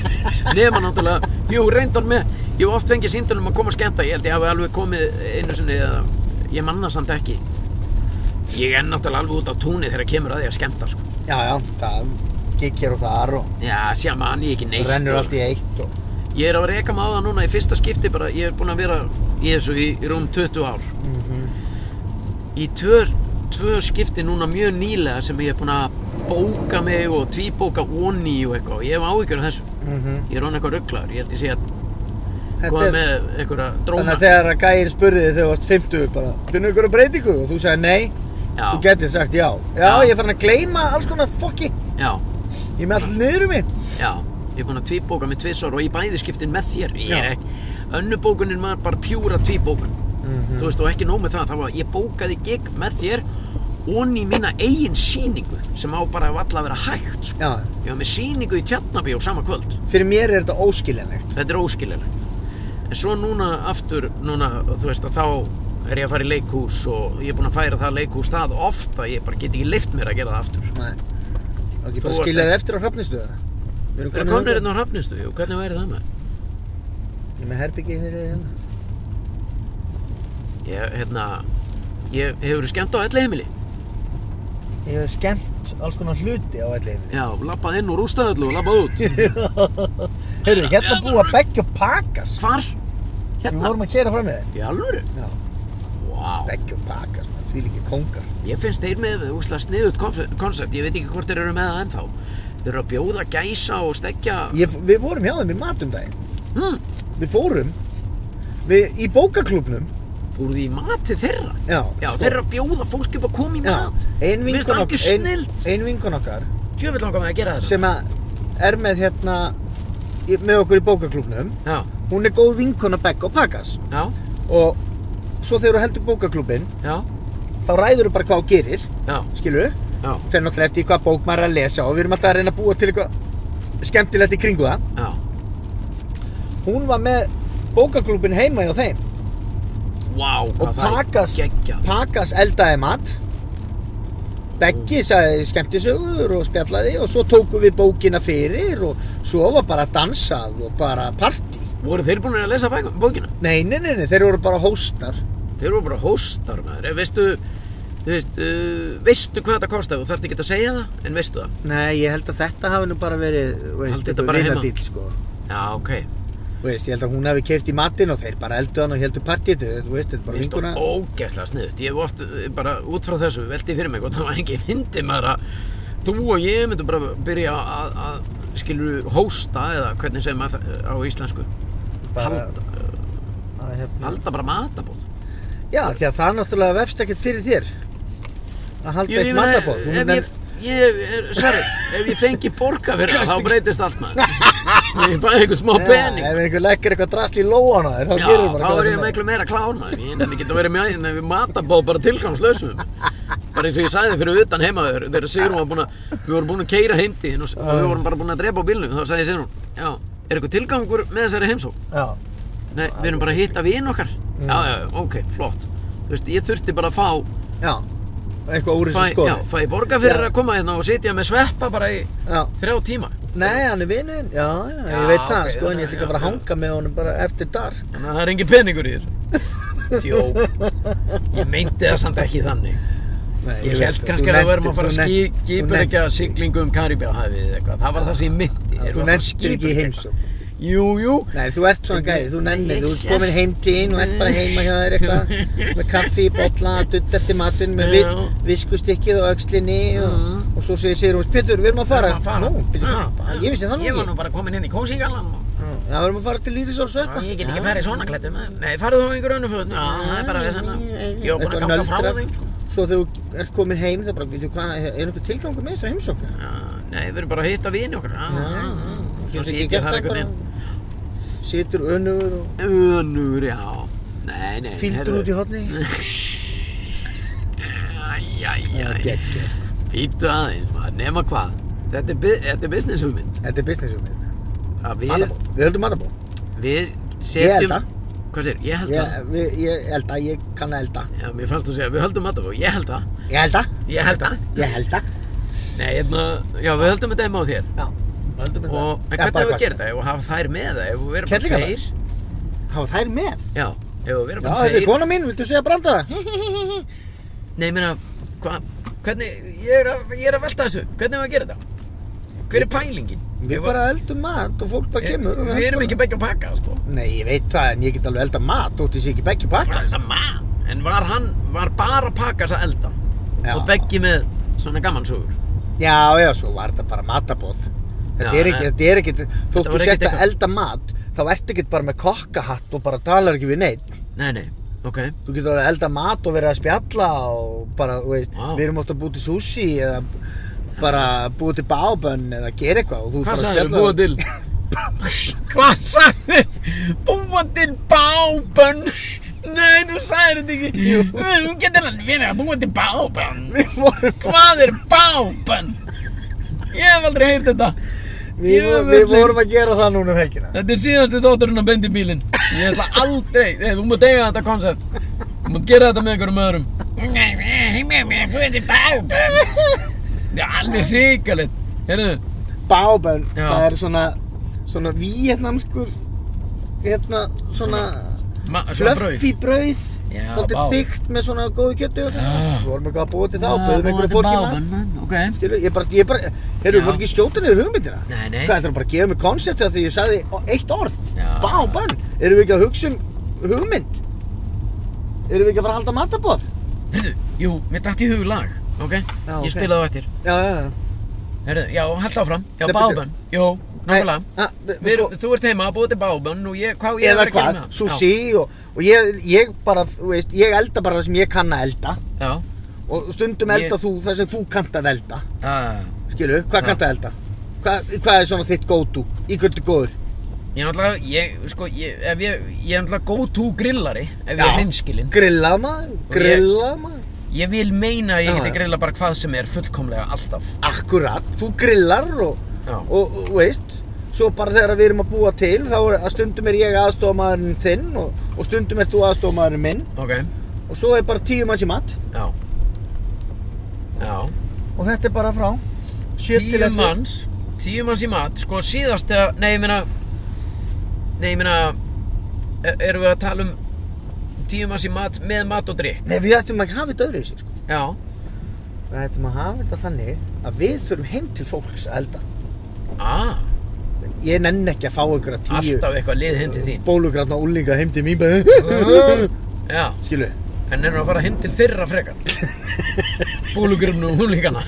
S1: nema náttúrulega, jú reyndar með ég hef oft fengið síndal um að koma að skemmta ég held ég hafi alveg komið einu sinni eða, ég manna samt ekki ég er náttúrulega alveg út á túni þegar kemur að því að skemmta sko.
S2: Já, já, það gikk hér og þar og
S1: já, sé að manni ekki neitt sko.
S2: rennur
S1: og-
S2: allt í eitt og...
S1: ég er að reyka mig á það núna í fyrsta skipti bara, ég er búinn að vera í þessu í, í rúm 20 ár
S2: Mhm,
S1: í tvö, tvö skipti núna mjög nýlega sem ég er búinn að bóka mig og tvíbóka onni og eitthvað og ég hef áhyggjur af þessu
S2: Mhm.
S1: ég er án eitthvað rugglaður, ég held ég sé að
S2: Þetta
S1: koma
S2: er-
S1: með einhverja dróna
S2: Þannig að þegar að gæinn spurði þig þegar þú varst 50 bara, finnum ykkur að breytingu og þú sagði nei,
S1: já,
S2: þú getið sagt já. Já,
S1: Já.
S2: ég er farin að gleyma alls konar fokki.
S1: já,
S2: Ég er með allt niður um mig.
S1: já, ég er búinn að tvíbóka mig tvisvar og í bæði skiptin með þér ég
S2: Já.
S1: er ekki, önnu bókunin var bara pjúra tvíbókun
S2: Mhm.
S1: þú veist og ekki nóg með það, það var, ég bókaði gig með þér onni í mína eigin sýningu sem á bara valla að vera hægt sko.
S2: Já,
S1: Ég var með sýningu í Tjarnabíó sama kvöld.
S2: fyrir mér er þetta óskiljanlegt.
S1: Þetta er óskiljulegt. En svo núna aftur, núna, þú veist að þá er ég að fara í leikhús og ég er búinn að færa það leikhús það oft að ég bara get ekki leift mér að gera það aftur.
S2: Nei. Það er
S1: Þú
S2: ekki bara
S1: varst
S2: að skilja
S1: ekki-
S2: þig eftir á hrafnistuða. Við erum
S1: Við erum komnir hérna á Hrafnistu, jú, hvernig væri það með?
S2: Ég er með herbyggið hérna hérna.
S1: Ég, hérna, ég hefur verið skemmt á elli heimili.
S2: Ég hef skemmt alls konar hluti á allir heimili.
S1: Já, lappað inn úr ústæðallu og lappað út.
S2: Heyrðu, hérna búa Beggi og Pakas.
S1: Hvar?
S2: Við
S1: Hérna?
S2: vorum að kera fram með þeim.
S1: Í alvöru?
S2: Já.
S1: Vá,
S2: Beggi og Pakas, maður, því líka kongar.
S1: ég finnst þeir með úslega sniðut koncept, ég veit ekki hvort þeir eru með það ennþá. Þeir eru að bjóða gæsa og stekja...
S2: Ég, við vorum hjá þeim í matum daginn.
S1: Hmm.
S2: Við fórum við, í bókaklubnum.
S1: Fóruð þið í mat til þeirra?
S2: Já,
S1: Já,
S2: sko.
S1: þeir eru að bjóða fólk upp að koma í mat.
S2: ein
S1: Mér finnst
S2: vinkon
S1: það
S2: okkar,
S1: algjör
S2: ein,
S1: snild.
S2: ein vinkon okkar
S1: Tjöfitt langar með að gera þetta.
S2: sem að er með hérna, í- með okkur í bókaklubnum.
S1: Já,
S2: Hún er góð vinkona Beggi og Pakas.
S1: já,
S2: Og svo þegar þú heldur bókaklubin,
S1: já,
S2: þá ræður þú bara hvað þú gerir,
S1: já,
S2: skilu?
S1: já.
S2: fer náttúrulega eftir hvað bók maður er að lesa og við erum alltaf að reyna að búa til eitthvað skemmtilegt í kringu það
S1: já,
S2: hún var með bókaklúbin heima hjá þeim
S1: vá,
S2: og
S1: hvað það er
S2: Pakas,
S1: geggjað.
S2: Pakas eldaði mat Beggi sagði skemmtisögur og spjallaði og svo tókum við bókina fyrir og svo var bara dansað og bara party
S1: Voru þeir búin að lesa bæk- bókina?
S2: Nei, nei, nei, nei, þeir voru bara hóstar
S1: Þeir voru bara hóstar maður. Eh, Veistu, þú veist, uh, veistu hvað þetta kostaði og þarfst ekki að segja það, en veistu það?
S2: Nei, ég held að þetta hafi nú bara verið þú veist,
S1: Haldið þetta bara heima.
S2: vinadýll, sko.
S1: Já, ok.
S2: Þú veist, ég held að hún hafi keift í matinn og þeir bara eldu hann og heldu partíð þú veist, þetta er bara
S1: Mér finnst
S2: vinkuna
S1: það ógeðslega sniðut. Ég hef oft eh, bara út frá þessu velti fyrir mig hvort það var ekki fyndi maður að þú og ég myndum bara byrja að, að skilur hósta eða hvernig segir maður það eh, á íslensku.
S2: bara,
S1: halda.
S2: að, hérna.
S1: Halda bara matabóð.
S2: Já, því að það náttúrulega vefst ekkert fyrir þér að halda eitt matabóð Þú
S1: ef
S2: nefn-
S1: ég, ég er, sorry, ef ég fengi borga fyrir það, þá breytist allt maður. Ég fæ einhvern smá
S2: Já,
S1: pening.
S2: Ef einhver leggur eitthvað drasl í lóan á þér, þá
S1: Já,
S2: gerur bara
S1: þá
S2: hvað
S1: er
S2: sem
S1: ég
S2: er.
S1: miklu meira klár maður Ég nefnir ekki að vera með aðeins við matabóð bara tilgangslausum Bara eins og ég sagði fyrir utan heima þegar- Þegar Sigrún var búin að Við vorum búin að keira heimti og og við vorum bara búin að drepa á bílnum Þá sagði Sigrún Já, er eitthvað tilgangur með þessari heimsók?
S2: Já,
S1: Nei, við erum bara að hitta vin okkar
S2: Mm.
S1: Já, já, já, ok, flott Þú veist, ég þurfti bara að fá
S2: já, eitthvað úr
S1: Fæ,
S2: þessu
S1: já,
S2: skoði
S1: fæ borga fyrir
S2: Já.
S1: að koma hérna og sitja með sveppa bara í
S2: Já.
S1: þrjá tíma
S2: Nei, hann er vinuðinn, já, já, ég
S1: Já,
S2: veit það,
S1: ok,
S2: sko, en ég
S1: já,
S2: ætla ekki
S1: já,
S2: að fara að
S1: já.
S2: hanga með honum bara eftir dark.
S1: Þannig að það er engin peningur í þessu Djók Ég meinti það samt ekki þannig
S2: Nei,
S1: Ég
S2: veit
S1: held
S2: það,
S1: kannski
S2: þú
S1: að við værum
S2: nenntir-
S1: að fara
S2: þú
S1: að
S2: nenn-
S1: skí-
S2: þú
S1: skipuleggja
S2: nenn-
S1: siglingu um Karibjáhafið eða eitthvað. Það var það sem ég myndi.
S2: Þú nenntir ekki í heimsókn.
S1: Jú, jú.
S2: Nei, þú ert svona gæði, þú nennir, þú ert komin heim til þín og ert bara heima hjá þér eitthvað með kaffi í bolla, dutt eftir matinn með vi,
S1: Já. Mm.
S2: viskustykkið og öxlinni og, og svo segir Sigrún, Pétur, við erum að fara
S1: Við erum að fara. Ah.
S2: Nú, Pétur, hvað? Bara, Ég vissi það nú
S1: Ég var
S2: ekki
S1: nú bara komin inn í Kósingallan og
S2: Já, við erum að fara til Lýrisóls
S1: Já,
S2: og eitthvað
S1: Ah, ég get ekki farið í svona klættum. Nei, farið þú á einhver önnu fötum? Já, það er bara þess að ég var búin að ganga frá þeim. sko.
S2: Svo þegar þú ert komin heim það bara, veitu hvað, er einhver tilgangur með þessar heimsókna?
S1: Já, Nei, við erum bara að hitta vini okkar. Já, já, já. Svo
S2: Getur
S1: sé
S2: ekki
S1: ég það
S2: gert það
S1: einhvern
S2: bara?
S1: veginn.
S2: Situr önugur og
S1: Önur, já. Nei, nei.
S2: fíldur út í hotni
S1: Æjæjæj.
S2: Gekkja, sko
S1: Fýttu aðeins, maður. Nema hvað. Þetta er bu- þetta er business hugmynd.
S2: Þetta er business um þetta
S1: Að við-
S2: Matabó, við höldum matabó
S1: Við
S2: Ég
S1: setjum...
S2: elda.
S1: Hvað sér? Ég held
S2: Ég,
S1: að.
S2: við, ég held að, ég kann að elda
S1: Já, mér fannst þú að segja, við höldum matabó. Ég held að.
S2: Ég held að,
S1: Ég held að.
S2: ég held að
S1: Nei, hérna, já, við höldum þetta heima á þér.
S2: Já, við höldum þetta
S1: Og, en hvernig
S2: Já, bara
S1: hefur við
S2: hvað
S1: gert
S2: sem
S1: það? Ef við hafa þær með það? Ef við verðum bara
S2: Kerlingarnar?
S1: tveir?
S2: er. Hafa þær með?
S1: Já, ef við verðum
S2: Já,
S1: bara
S2: þetta er
S1: tveir.
S2: kona mín, viltu segja brandara?
S1: Nei, ég meina, hvað, hvernig, ég er, að, ég er að velta þessu. Hvernig hefur við að gera þetta? Hver er pælingin?
S2: Við bara eldum mat og fólk bara kemur og
S1: Við erum ekki begge að pakka, sko.
S2: Nei, ég veit það, en ég get alveg elda mat þótt ég sé ekki beggi
S1: Var
S2: bakka
S1: þetta mann? En var hann, var bara að pakka þess að elda?
S2: Já.
S1: Og beggi með svona gamansugur?
S2: Já, já, svo var þetta bara matabóð Þetta
S1: Já,
S2: er ekki,
S1: en-
S2: þetta er ekki Þótt
S1: var
S2: þú
S1: ekkert
S2: sért að
S1: eitthvað-
S2: elda mat þá ertu ekki bara með kokkahatt og bara talar ekki við neitt
S1: Nei, nei, ok.
S2: Þú getur alveg elda mat og verið að spjalla og bara, þú veist,
S1: Vá.
S2: við erum ofta að búið til sushi eða bara búið til bábönn eða gera eitthvað og þú
S1: Hvað
S2: bara
S1: sagðið,
S2: spjallar-
S1: búa til? Hvað sagðið? Búa til bábönn? Nei, þú sagðir þetta ekki. Jú. Þú getur alveg verið að búa til bábönn.
S2: Við vorum,
S1: Hvað er bábönn? Ég hef aldrei heyrt þetta.
S2: við, vorum, við vorum að gera það núna um helgina
S1: Þetta er síðasti þátturinn að bendi bílinn. Ég ætla aldrei, nei, þú mútt eiga þetta koncept. Þú mútt gera þetta með einhverjum öðrum. Nei, nei, nei, nei, búa til bábönn. Það er alveg hrikalegt. Heyrðu,
S2: Bábönn,
S1: Já.
S2: það er svona svona vietnamskur hérna, svona,
S1: ma- svona brauð.
S2: fluffy brauð
S1: Já,
S2: Dóttir
S1: bábönn.
S2: þygt með svona góðu kjötu og eitthvað.
S1: Já.
S2: Við vorum eitthvað að búið til það og bauðum einhverju fólki í mat
S1: mann, ok.
S2: Skilu, ég bara, ég bara, heyrðu,
S1: Já.
S2: maður ekki skjóta niður hugmyndina
S1: Nei, nei.
S2: Hvað, ætlarðu bara að gefa mig koncept þegar því ég sagði o- eitt orð
S1: Já.
S2: Bábönn, erum við ekki að hugsa um hugmynd? Erum við ekki að fara að halda matabóð?
S1: Heyrðu, jú, mér dætti í hug lag, ok?
S2: Já,
S1: Ég
S2: ok.
S1: spilaði á eftir.
S2: Já, já, já
S1: Heyrðu, já, hald áfram. Já,
S2: Nei,
S1: bábönn. Jú, nákvæmlega.
S2: Nei, að, við-
S1: Við,
S2: sko-
S1: þú ert heima, búið til bábönn og ég, hvað ég
S2: Eða
S1: var að gera hérna?
S2: hvað,
S1: með það?
S2: sushi og, og ég, ég bara, þú veist, ég elda bara það sem ég kann að elda
S1: Já, já.
S2: Og stundum
S1: Ég-
S2: elda þú það sem þú kannt að elda
S1: Ah,
S2: Skilu, hvað kannt að elda? Hvað, hvað er svona þitt go-to? Í hvernig góður?
S1: ég er náttúrulega, ég, sko, ég, ef ég, ég er náttúrulega go-to grillari, ef ég
S2: Já.
S1: er hinskilinn.
S2: Grillað maður, grillað maður
S1: Ég vil meina að ég hérna
S2: Já,
S1: geti
S2: já.
S1: grilla bara hvað sem er fullkomlega alltaf.
S2: Akkurat, þú grillar og
S1: Já.
S2: og, og veist svo bara þegar við erum að búa til þá er að stundum er ég aðstofamæðurinn þinn og, og stundum er þú aðstofamæðurinn minn
S1: ok,
S2: og svo er bara tíu manns í mat
S1: já já,
S2: og þetta er bara frá sjö til
S1: tíu
S2: ellefu.
S1: manns tíu manns í mat, sko síðast eða, nei, ég meina nei, ég meina e- erum við að tala um tíu manns í mat með mat og drikk,
S2: Nei, við ættum ekki að hafa þetta öðru í sig sko.
S1: já,
S2: Við ættum að hafa þetta þannig að við förum heim til fólks að elda
S1: ah
S2: Ég nenn ekki að fá einhverja tíu
S1: alltaf eitthvað lið heim til þín
S2: Bólugranna úlinga heim til mín bara-
S1: já,
S2: Skilu
S1: en erum að fara heim til þeirra frekar bólugurumnu og húnlingana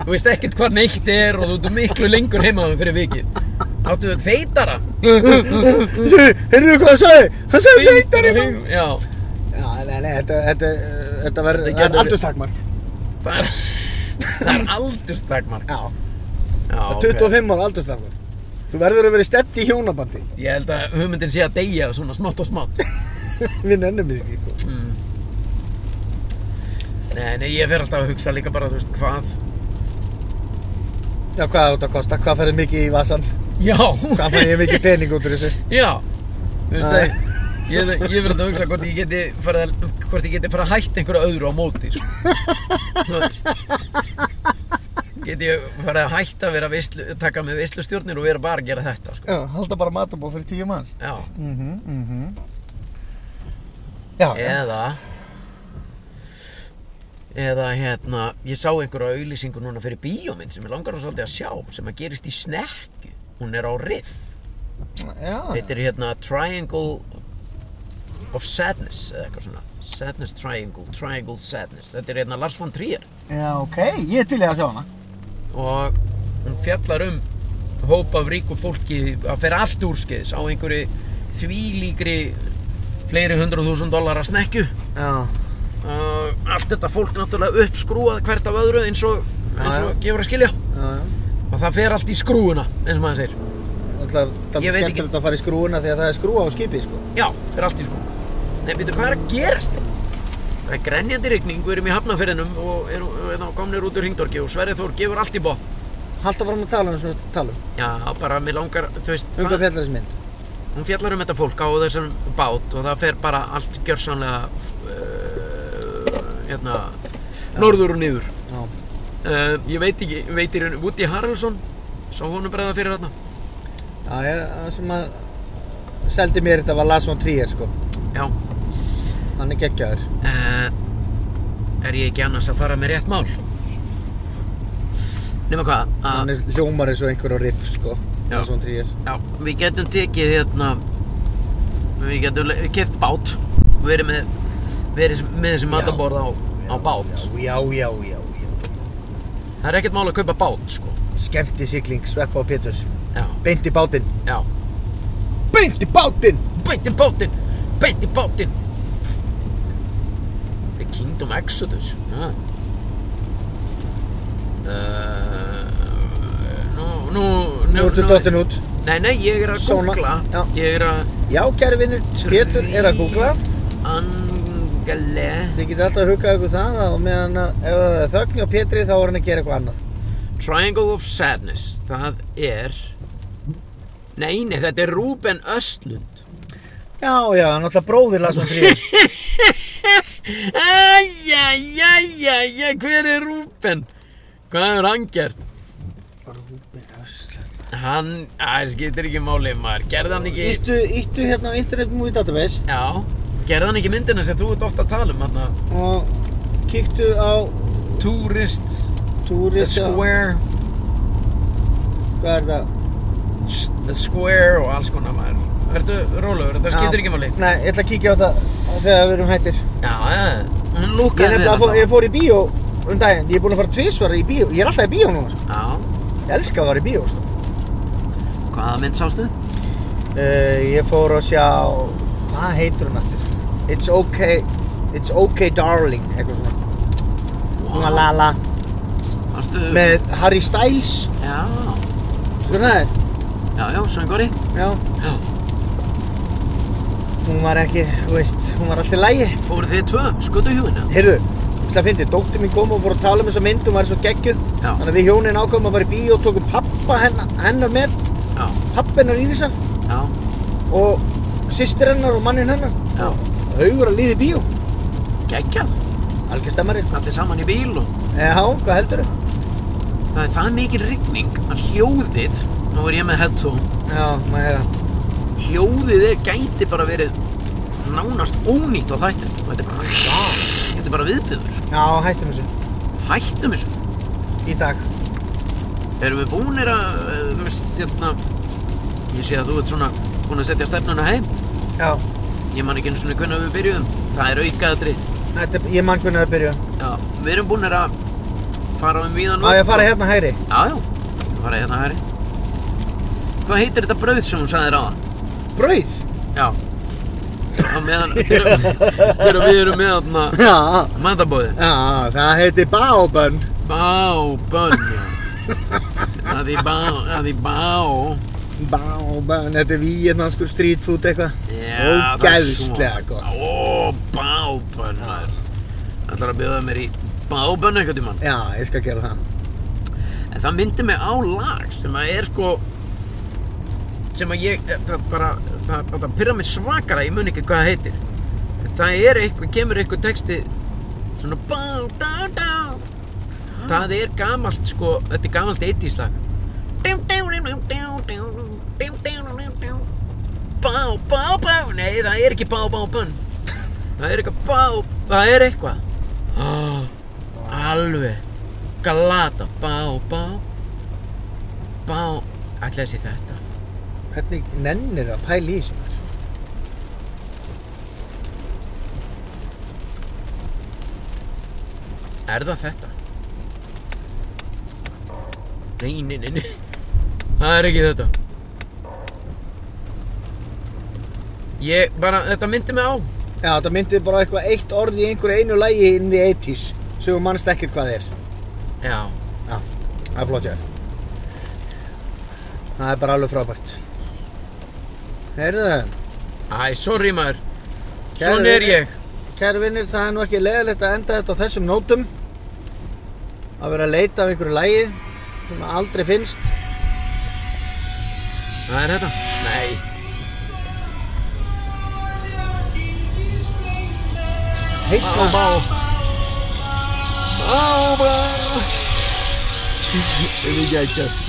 S1: þú veist ekkert hvað neitt er og þú ert miklu lengur heimaðum fyrir vikið áttu þetta feitara
S2: Heyrðu hvað það sagði? Það sagði feitar í maður
S1: já,
S2: Já, nei, nei, þetta, þetta, þetta verður
S1: Þetta
S2: Það er
S1: getur-
S2: aldurstakmark
S1: það er það er aldurstakmark
S2: Já,
S1: já,
S2: það er
S1: ok.
S2: 25 ára aldurstakmark Þú verður að vera stedd í hjónabandi
S1: ég held að hugmyndin sé að deyja svona smátt og smátt
S2: Við nennum þessu ekki sko.
S1: nei, nei, ég fer alltaf að hugsa líka bara, þú veist, hvað
S2: Já, hvað átt að kosta? Hvað færðu mikið í vasan?
S1: já,
S2: Hvað færðu ég mikið pening út úr þessu?
S1: Já, þú veist
S2: Nei.
S1: að ég, ég verði að hugsa hvort ég geti farið að, hvort ég geti farið að hætta einhverju öðru á móti sko. Þú veist. Geti ég farið að hætta að vera vislu, taka með vislustjórnir og vera bara að gera þetta sko.
S2: Já, halda bara matabóð fyrir tíu manns
S1: Já,
S2: Mhm, mhm Já, já,
S1: eða eða hérna ég sá einhverja auðlýsingu núna fyrir bíómynd sem ég langar að svolítið að sjá sem að gerist í snekku, hún er á riff
S2: já,
S1: Þetta er hérna Triangle of Sadness eða eitthvað svona Sadness Triangle, Triangle Sadness Þetta er hérna Lars von Trier
S2: já, ok, ég er til ég að sjá hana
S1: og hún fjallar um hóp af ríku fólki að fer allt úrskeiðis á einhverju þvílíkri fleiri hundruð þúsund dólar að snekju
S2: Já,
S1: uh, allt þetta fólk náttúrulega uppskrúað hvert af öðru eins og, eins og
S2: Já, já.
S1: gefur að skilja
S2: já, já
S1: og það fer allt í skrúuna eins og maður segir
S2: Alltaf, það
S1: Ég
S2: er
S1: veit
S2: skemmtilegt að fara í skrúuna þegar það er skrúa á skipi, sko.
S1: Já, fyrir allt í sko Nei, býtu, hvað er að gerast? hérna? Það er grenjandi rigning, við erum í hafnafyrðinum og erum erum komnir út úr hringdorki og Sverri Þór gefur allt í botn
S2: Halda fram að tala um þessu tala um.
S1: Já, bara mér langar, þú veist,
S2: Um hvað
S1: það-
S2: fjallar þessi mynd?
S1: hún fjallar um þetta fólk á þessum bát og það fer bara allt gjörsamlega uh, hérna, norður og niður
S2: Já.
S1: uh, Ég veit ekki, veit í raun, Woody Harrelson sá honum bregða fyrir hérna
S2: Já, ég, það sem að seldi mér þetta var Lars von Trier, sko.
S1: Já,
S2: Hann er geggjaður.
S1: uh, er ég ekki annars að fara með rétt mál? Nefna hvað, að
S2: Hann er hljómar eins og einhver á riff, sko.
S1: Já.
S2: Lars von Trier.
S1: Já, við getum tekið hérna Við getum keft bát og verið með, verið s- með þessi mataborð á, á bát
S2: Já, já, já, já.
S1: Það er ekkert mál að kaupa bát, sko
S2: Skemmti sigling, sveppa og pétus.
S1: Já,
S2: Beint í bátinn.
S1: já
S2: Beint í bátinn!
S1: Beint í bátinn, beint í bátinn Þetta er Kingdom Exodus Já Uh, Eh, nú, nú,
S2: Nú ertu dottinn út.
S1: Nei, nei, ég er að
S2: Sóna.
S1: googla
S2: Já.
S1: Ég er að
S2: Já, kæri vinnur, Pétur er að googla.
S1: Angele
S2: Þið getur alltaf að huga ykkur það að á meðan að ef það er þögn á Pétri þá er hann að gera eitthvað annað.
S1: Triangle of Sadness Það er Nei, nei, þetta er Ruben Östlund
S2: Já, já, hann er alltaf bróðir Lars von Trier.
S1: Æjæjæjæjæ Hver er Ruben? Hvað hefur hann gert?
S2: Rúbin Östlund
S1: Hann, það skiptir ekki máli maður Gerði hann ekki
S2: Íttu, íttu hérna á Internet Movie Database
S1: Já, gerði hann ekki myndina sem þú ert ofta að tala um Hanna,
S2: og kíktu á
S1: Tourist The
S2: Tourist
S1: Square
S2: Hvað er það?
S1: The Square og alls konar maður Vertu rólegur, þetta skiptir
S2: Já.
S1: ekki máli
S2: Nei, ég ætla að kíkja á það þegar við erum hættir
S1: Já, já, hann
S2: Ég, er
S1: lúkaði
S2: nefnilega,
S1: vel
S2: fó,
S1: allavega.
S2: ég fór í bíó um daginn Ég er búinn að fara tvisvar í bíó Ég er alltaf í bíó núna sko.
S1: Já,
S2: Ég elska að fara í bíó sko.
S1: hvaða mynd sástu?
S2: uh, Ég fór að sjá Hvað heitur hún aftur? It's okay It's okay darling Eitthvað svona Svona
S1: Ah.
S2: la la
S1: Sástu
S2: Með Harry Styles
S1: Já,
S2: Sko það er
S1: já, já, söngari
S2: Já
S1: Já
S2: Hún var ekki, þú veist Hún var alltaf lægi
S1: Fóruð þið tvö, skutu hjúina
S2: Heyrðu, Það fyndi, dóttir mín kom og fór að tala um þessa mynd og var svo geggjuð
S1: Já.
S2: Þannig að við hjónin ákvæmum að fara í bíó og tókum pappa hennar, hennar með
S1: já,
S2: Pappa hennar Írisa
S1: já,
S2: og systir hennar og mannin hennar
S1: já,
S2: Haugur að líði bíó,
S1: geggjað,
S2: algjör stemmarinn
S1: allir saman í bíl og
S2: Já, hvað heldur þau?
S1: það er það mikil rigning að hljóðið, nú er ég með headphone,
S2: Já, maður er að
S1: hljóðið er gæti bara verið nánast ónýtt á þættin og þetta er bara, þetta er bara viðbyður, sko.
S2: Já, hættum þessu
S1: hættum þessu,
S2: í dag
S1: erum við búnir að, eh, þú veist, hérna, ég sé að þú ert svona búin að setja stefnuna heim,
S2: Já,
S1: ég man ekki einu svona hvernig við byrjuðum, það er aukaðatrið,
S2: þetta, ég mann hvernig að byrja
S1: já, við erum búnir að fara um víðan
S2: Á ég að fara hérna hæri?
S1: Já, já, við fara hérna hæri. Hvað heitir þetta brauð sem hún sagði ráðan?
S2: Brauð?
S1: Já. Á meðan, þegar þegar við erum með þarna
S2: Já,
S1: matabóðið.
S2: já, það heiti Baobön
S1: Bá, bönn, já. Að því bá, að því bá.
S2: Bábæn, þetta er víetnanskur street food eitthvað
S1: Já,
S2: Ógeðslega gott
S1: Ó, bá, bönn, maður. Ætlar að bjóða mér í bá, bönn eitthvað tímann.
S2: Já, ég skal gera það
S1: En það myndi mig á lag sem að er sko sem að ég, eh, það bara það, það pyrra mig svakara, ég mun ekki hvað það heitir en það er eitthvað, kemur eitthvað texti svona bá, dá, dá það er gamalt sko, þetta er gamalt 80s lag bá, bá, bá nei, það er ekki bá, bá, bönn það er eitthvað bá, það er eitthvað oh, alveg Galata, bá, bá Bá, ætlaði þessi þetta
S2: Hvernig nennir að pæla í þessu? maður?
S1: Er það þetta? Reynininu Það er ekki þetta Ég bara, þetta myndi mig á
S2: Já, þetta myndi bara eitthvað eitt orð í einhverju einu lagi inn í 80s sem þú mannst ekkert hvað er
S1: Já,
S2: Já, það er flott ég Það er bara alveg frábært Heyrðu,
S1: æ, sorry maður
S2: Kæru
S1: Svona er
S2: vinir.
S1: ég
S2: kæru vinnir, það er nú ekki leðilegt að enda þetta á þessum nótum að vera að leita af einhverju lagi sem aldrei finnst
S1: Það er þetta Nei
S2: heitna
S1: Bá Bá, bá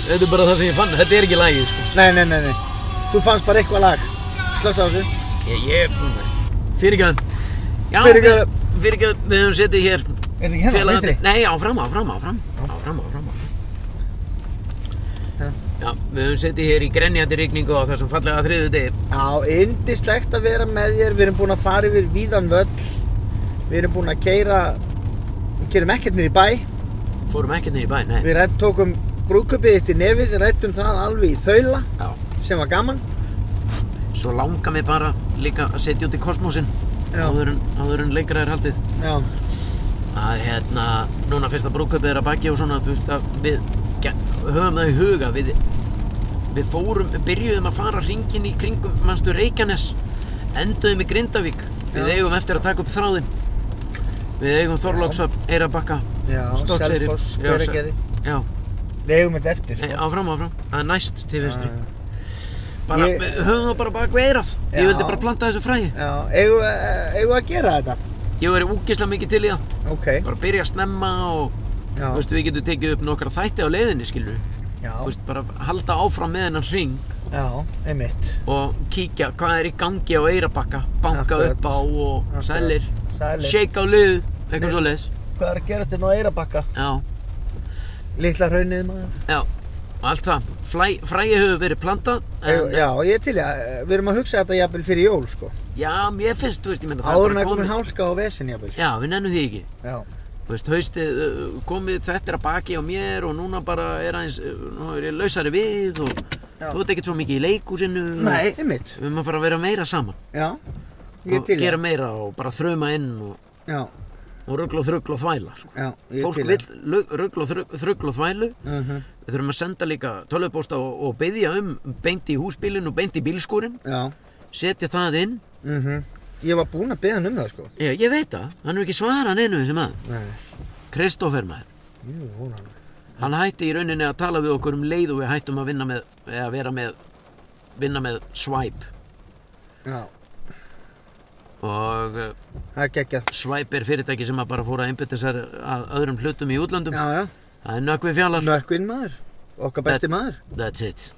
S1: Þetta er bara það sem ég fann, þetta er ekki lagið sko
S2: Nei, nei, nei, nei. Þú fannst bara eitthvað lag. Slögt á þessu.
S1: Ég, ég er búinn að... Fyrirgjöðan. Já,
S2: Fyrirgefðu.
S1: við- fyrirgefðu, við höfum setið hér.
S2: Er þetta ekki hérna,
S1: félagarnir-
S2: vinstri?
S1: Nei, áfram, áfram, áfram. Áfram, áfram, áfram.
S2: Hérna.
S1: Já, við höfum setið hér í grenjandi rigningu á þessum fallega þriðu degi.
S2: Já, indislegt að vera með þér. Við erum búin að fara yfir víðan völl. Við erum búin að keira, við keirum ekkert niður í bæ.
S1: Fórum ekkert niður í bæ, nei.
S2: Við rætt, tókum brúðkaupið þitt í nefið, rættum það alveg í þaula
S1: Já,
S2: sem var gaman.
S1: svo langar mig bara líka að setja út í kosmósin.
S2: Já.
S1: Áður en, áður en lengra er haldið.
S2: Já,
S1: Að hérna, núna fyrsta brúköpið er að baki og svona, þú veist að við ge- höfum það í huga. Við, við fórum, byrjuðum að fara hringin í kringum, mannstu, Reykjanes. Enduðum í Grindavík. Við
S2: Já.
S1: eigum eftir að taka upp þráðinn. Við eigum Þorlóksöfn, Eirabakka,
S2: já,
S1: Stokkseyri.
S2: Selfoss,
S1: Já,
S2: Hveragerði.
S1: Já,
S2: Við eigum þetta eftir,
S1: nei,
S2: sko.
S1: áfram, áfram. Það er næst til vinstri.
S2: Já,
S1: Bara,
S2: Ég-
S1: við höfum það bara bak við eirað. Ég
S2: Já.
S1: vildi bara planta þessu fræði.
S2: Já, eigum, eh, eigum við að gera þetta.
S1: Ég verið úkislega mikið til í það.
S2: Ok,
S1: Bara byrja að snemma og,
S2: já,
S1: þú veist, við getum tekið upp nokkra þætti á leiðinni, skilur
S2: já,
S1: Þú veist, bara halda áfram með hennar hring.
S2: já, einmitt.
S1: og kíkja hvað er í gangi á Eyrabakka banka
S2: Akkurat.
S1: upp á og
S2: Akkurat.
S1: sælir
S2: Sælir.
S1: shake á lið, eitthvað svo leiðis
S2: Hvað er að gerast þetta á Eirabakka?
S1: já,
S2: Lilla raunnið maður.
S1: já, og allt það Flæ, fræi hefur verið plantað
S2: Eigum-
S1: en,
S2: Já, ég er til í að, eh, við erum að hugsa þetta jafnvel fyrir jól sko.
S1: já, mér finnst, þú veist, ég menna
S2: Áður en að komin hálka á vesen jafnvel.
S1: já, við nennum því ekki
S2: Já.
S1: þú veist, haustið uh, komið þetta er að baki á mér og núna bara er aðeins uh, nú er ég lausari við og
S2: Já.
S1: þú ert ekkert svo mikið í leikúsinu og
S2: Nei, einmitt.
S1: við erum að fara að vera meira saman
S2: Já, ég er
S1: og
S2: til í
S1: gera
S2: að.
S1: meira og bara þruma inn og,
S2: Já,
S1: og ruggla og þruggla og þvæla sko.
S2: já, ég er
S1: fólk
S2: til í
S1: vil
S2: að.
S1: lu- rugl og þru- þrugl og þvælu
S2: Mhm.
S1: við þurfum að senda líka tölvupósta og, og byggja um beint í húsbílinn og beint í bílskúrin
S2: Já,
S1: setja það inn
S2: mhm, Ég var búinn að beða hann um það sko.
S1: Ég, ég veit það, hann er ekki svarað neinu þessi maður.
S2: Nei,
S1: Kristófer maður.
S2: jú, hún hann.
S1: Hann hætti í rauninni að tala við okkur um leið og við hættum að vinna með, eða vera með, vinna með swipe.
S2: Já,
S1: Og eh,
S2: það er geggjað.
S1: swipe er fyrirtæki sem að bara fóra að einbytta sér að öðrum hlutum í útlöndum.
S2: Já, já.
S1: Það er nökkvi fjallar.
S2: Nökkvinn maður. Okkar besti maður.
S1: That's it.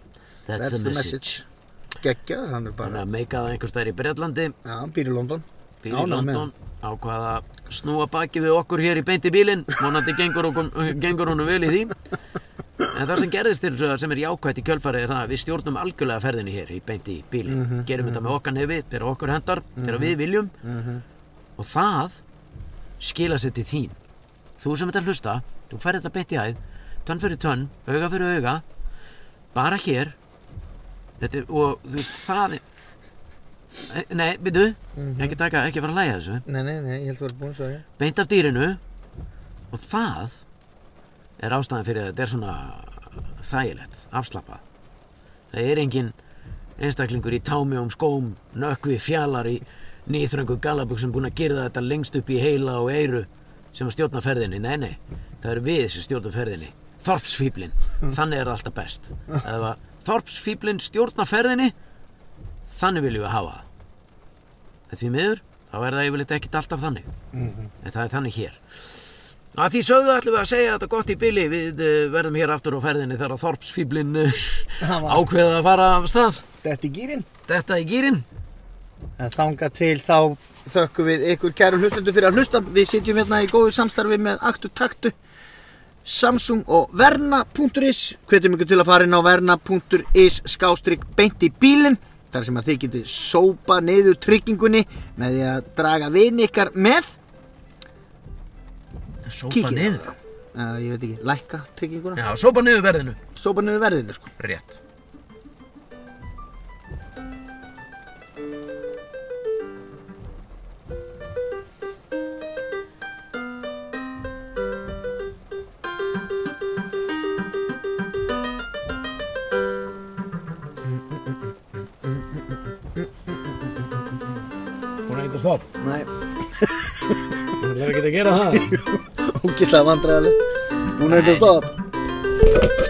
S1: That's,
S2: That's the message. Geggjað, hann er
S1: Þannig
S2: bara.
S1: að meika það einhvers þær í Bretlandi,
S2: Já, hann býr í London.
S1: fyrir
S2: Ánægð með
S1: London, ákvað að snúa baki við okkur hér í beinti bílinn, vonandi gengur, okkur, gengur honum vel í því. En það sem gerðist til þess að sem er jákvætt í kjölfarið er það að við stjórnum algjörlega ferðinni hér í beinti bílinn. Gerum þetta með okkar nefi, þegar okkur hendar, þegar við viljum. Og það skila sér til þín. Þú sem þetta hlusta, þú ferð þetta beint í hæð, tönn fyrir tönn, auga fyrir auga, bara hér. Þetta er, og þú veist, það er... e, Nei, byrju, ekki taka, ekki fara að læja þessu
S2: Nei, nei, nei, ég held að vera búinn svo, já.
S1: beint af dýrinu og það er ástæðan fyrir að þetta er svona þægilegt, afslappað. Það er engin einstaklingur í támjóm, skóm, nökkvi, fjalar í nýþröngu galabuxum búin að gyrða þetta lengst upp í heila og eyru sem að stjórna ferðinni. Nei, nei, það eru við sem stjórna ferðinni. Þorpsfíblin, þannig er það alltaf best. Það var Þorpsfíblin stjórna ferðinni, þannig viljum við hafa það. En því miður, þá er það yfirleitt ekkit alltaf þannig en það er þannig hér að því sögðu ætlum við að segja þetta gott í bili við uh, verðum hér aftur á ferðinni þegar þorpsfíblin uh,
S2: Það var-
S1: ákveða að fara af stað
S2: Þetta er gýrin.
S1: þetta í gýrin
S2: En þanga til þá þökkum við ykkur kæru hlustundu fyrir að hlusta. Við sitjum hérna í góðu samstarfi með Aktu Taktu, Samsung og Verna.is. Hvetum ykkur til að fara inn á Verna.is skástrygg beint í bílinn. Þar sem að þið getið sópa niður tryggingunni með því að draga vini ykkar með.
S1: sópa
S2: Kíkið
S1: niður
S2: það. Uh, ég veit ekki, lækka trygginguna.
S1: já, sópa niður verðinu
S2: Sópa niður verðinu sko.
S1: rétt
S4: Búin að geta stopp.
S2: Nei,
S4: Það
S1: ¿eh?
S4: er ekki að gera það.
S2: ógislega vandræðileg. Búin að þetta stopp.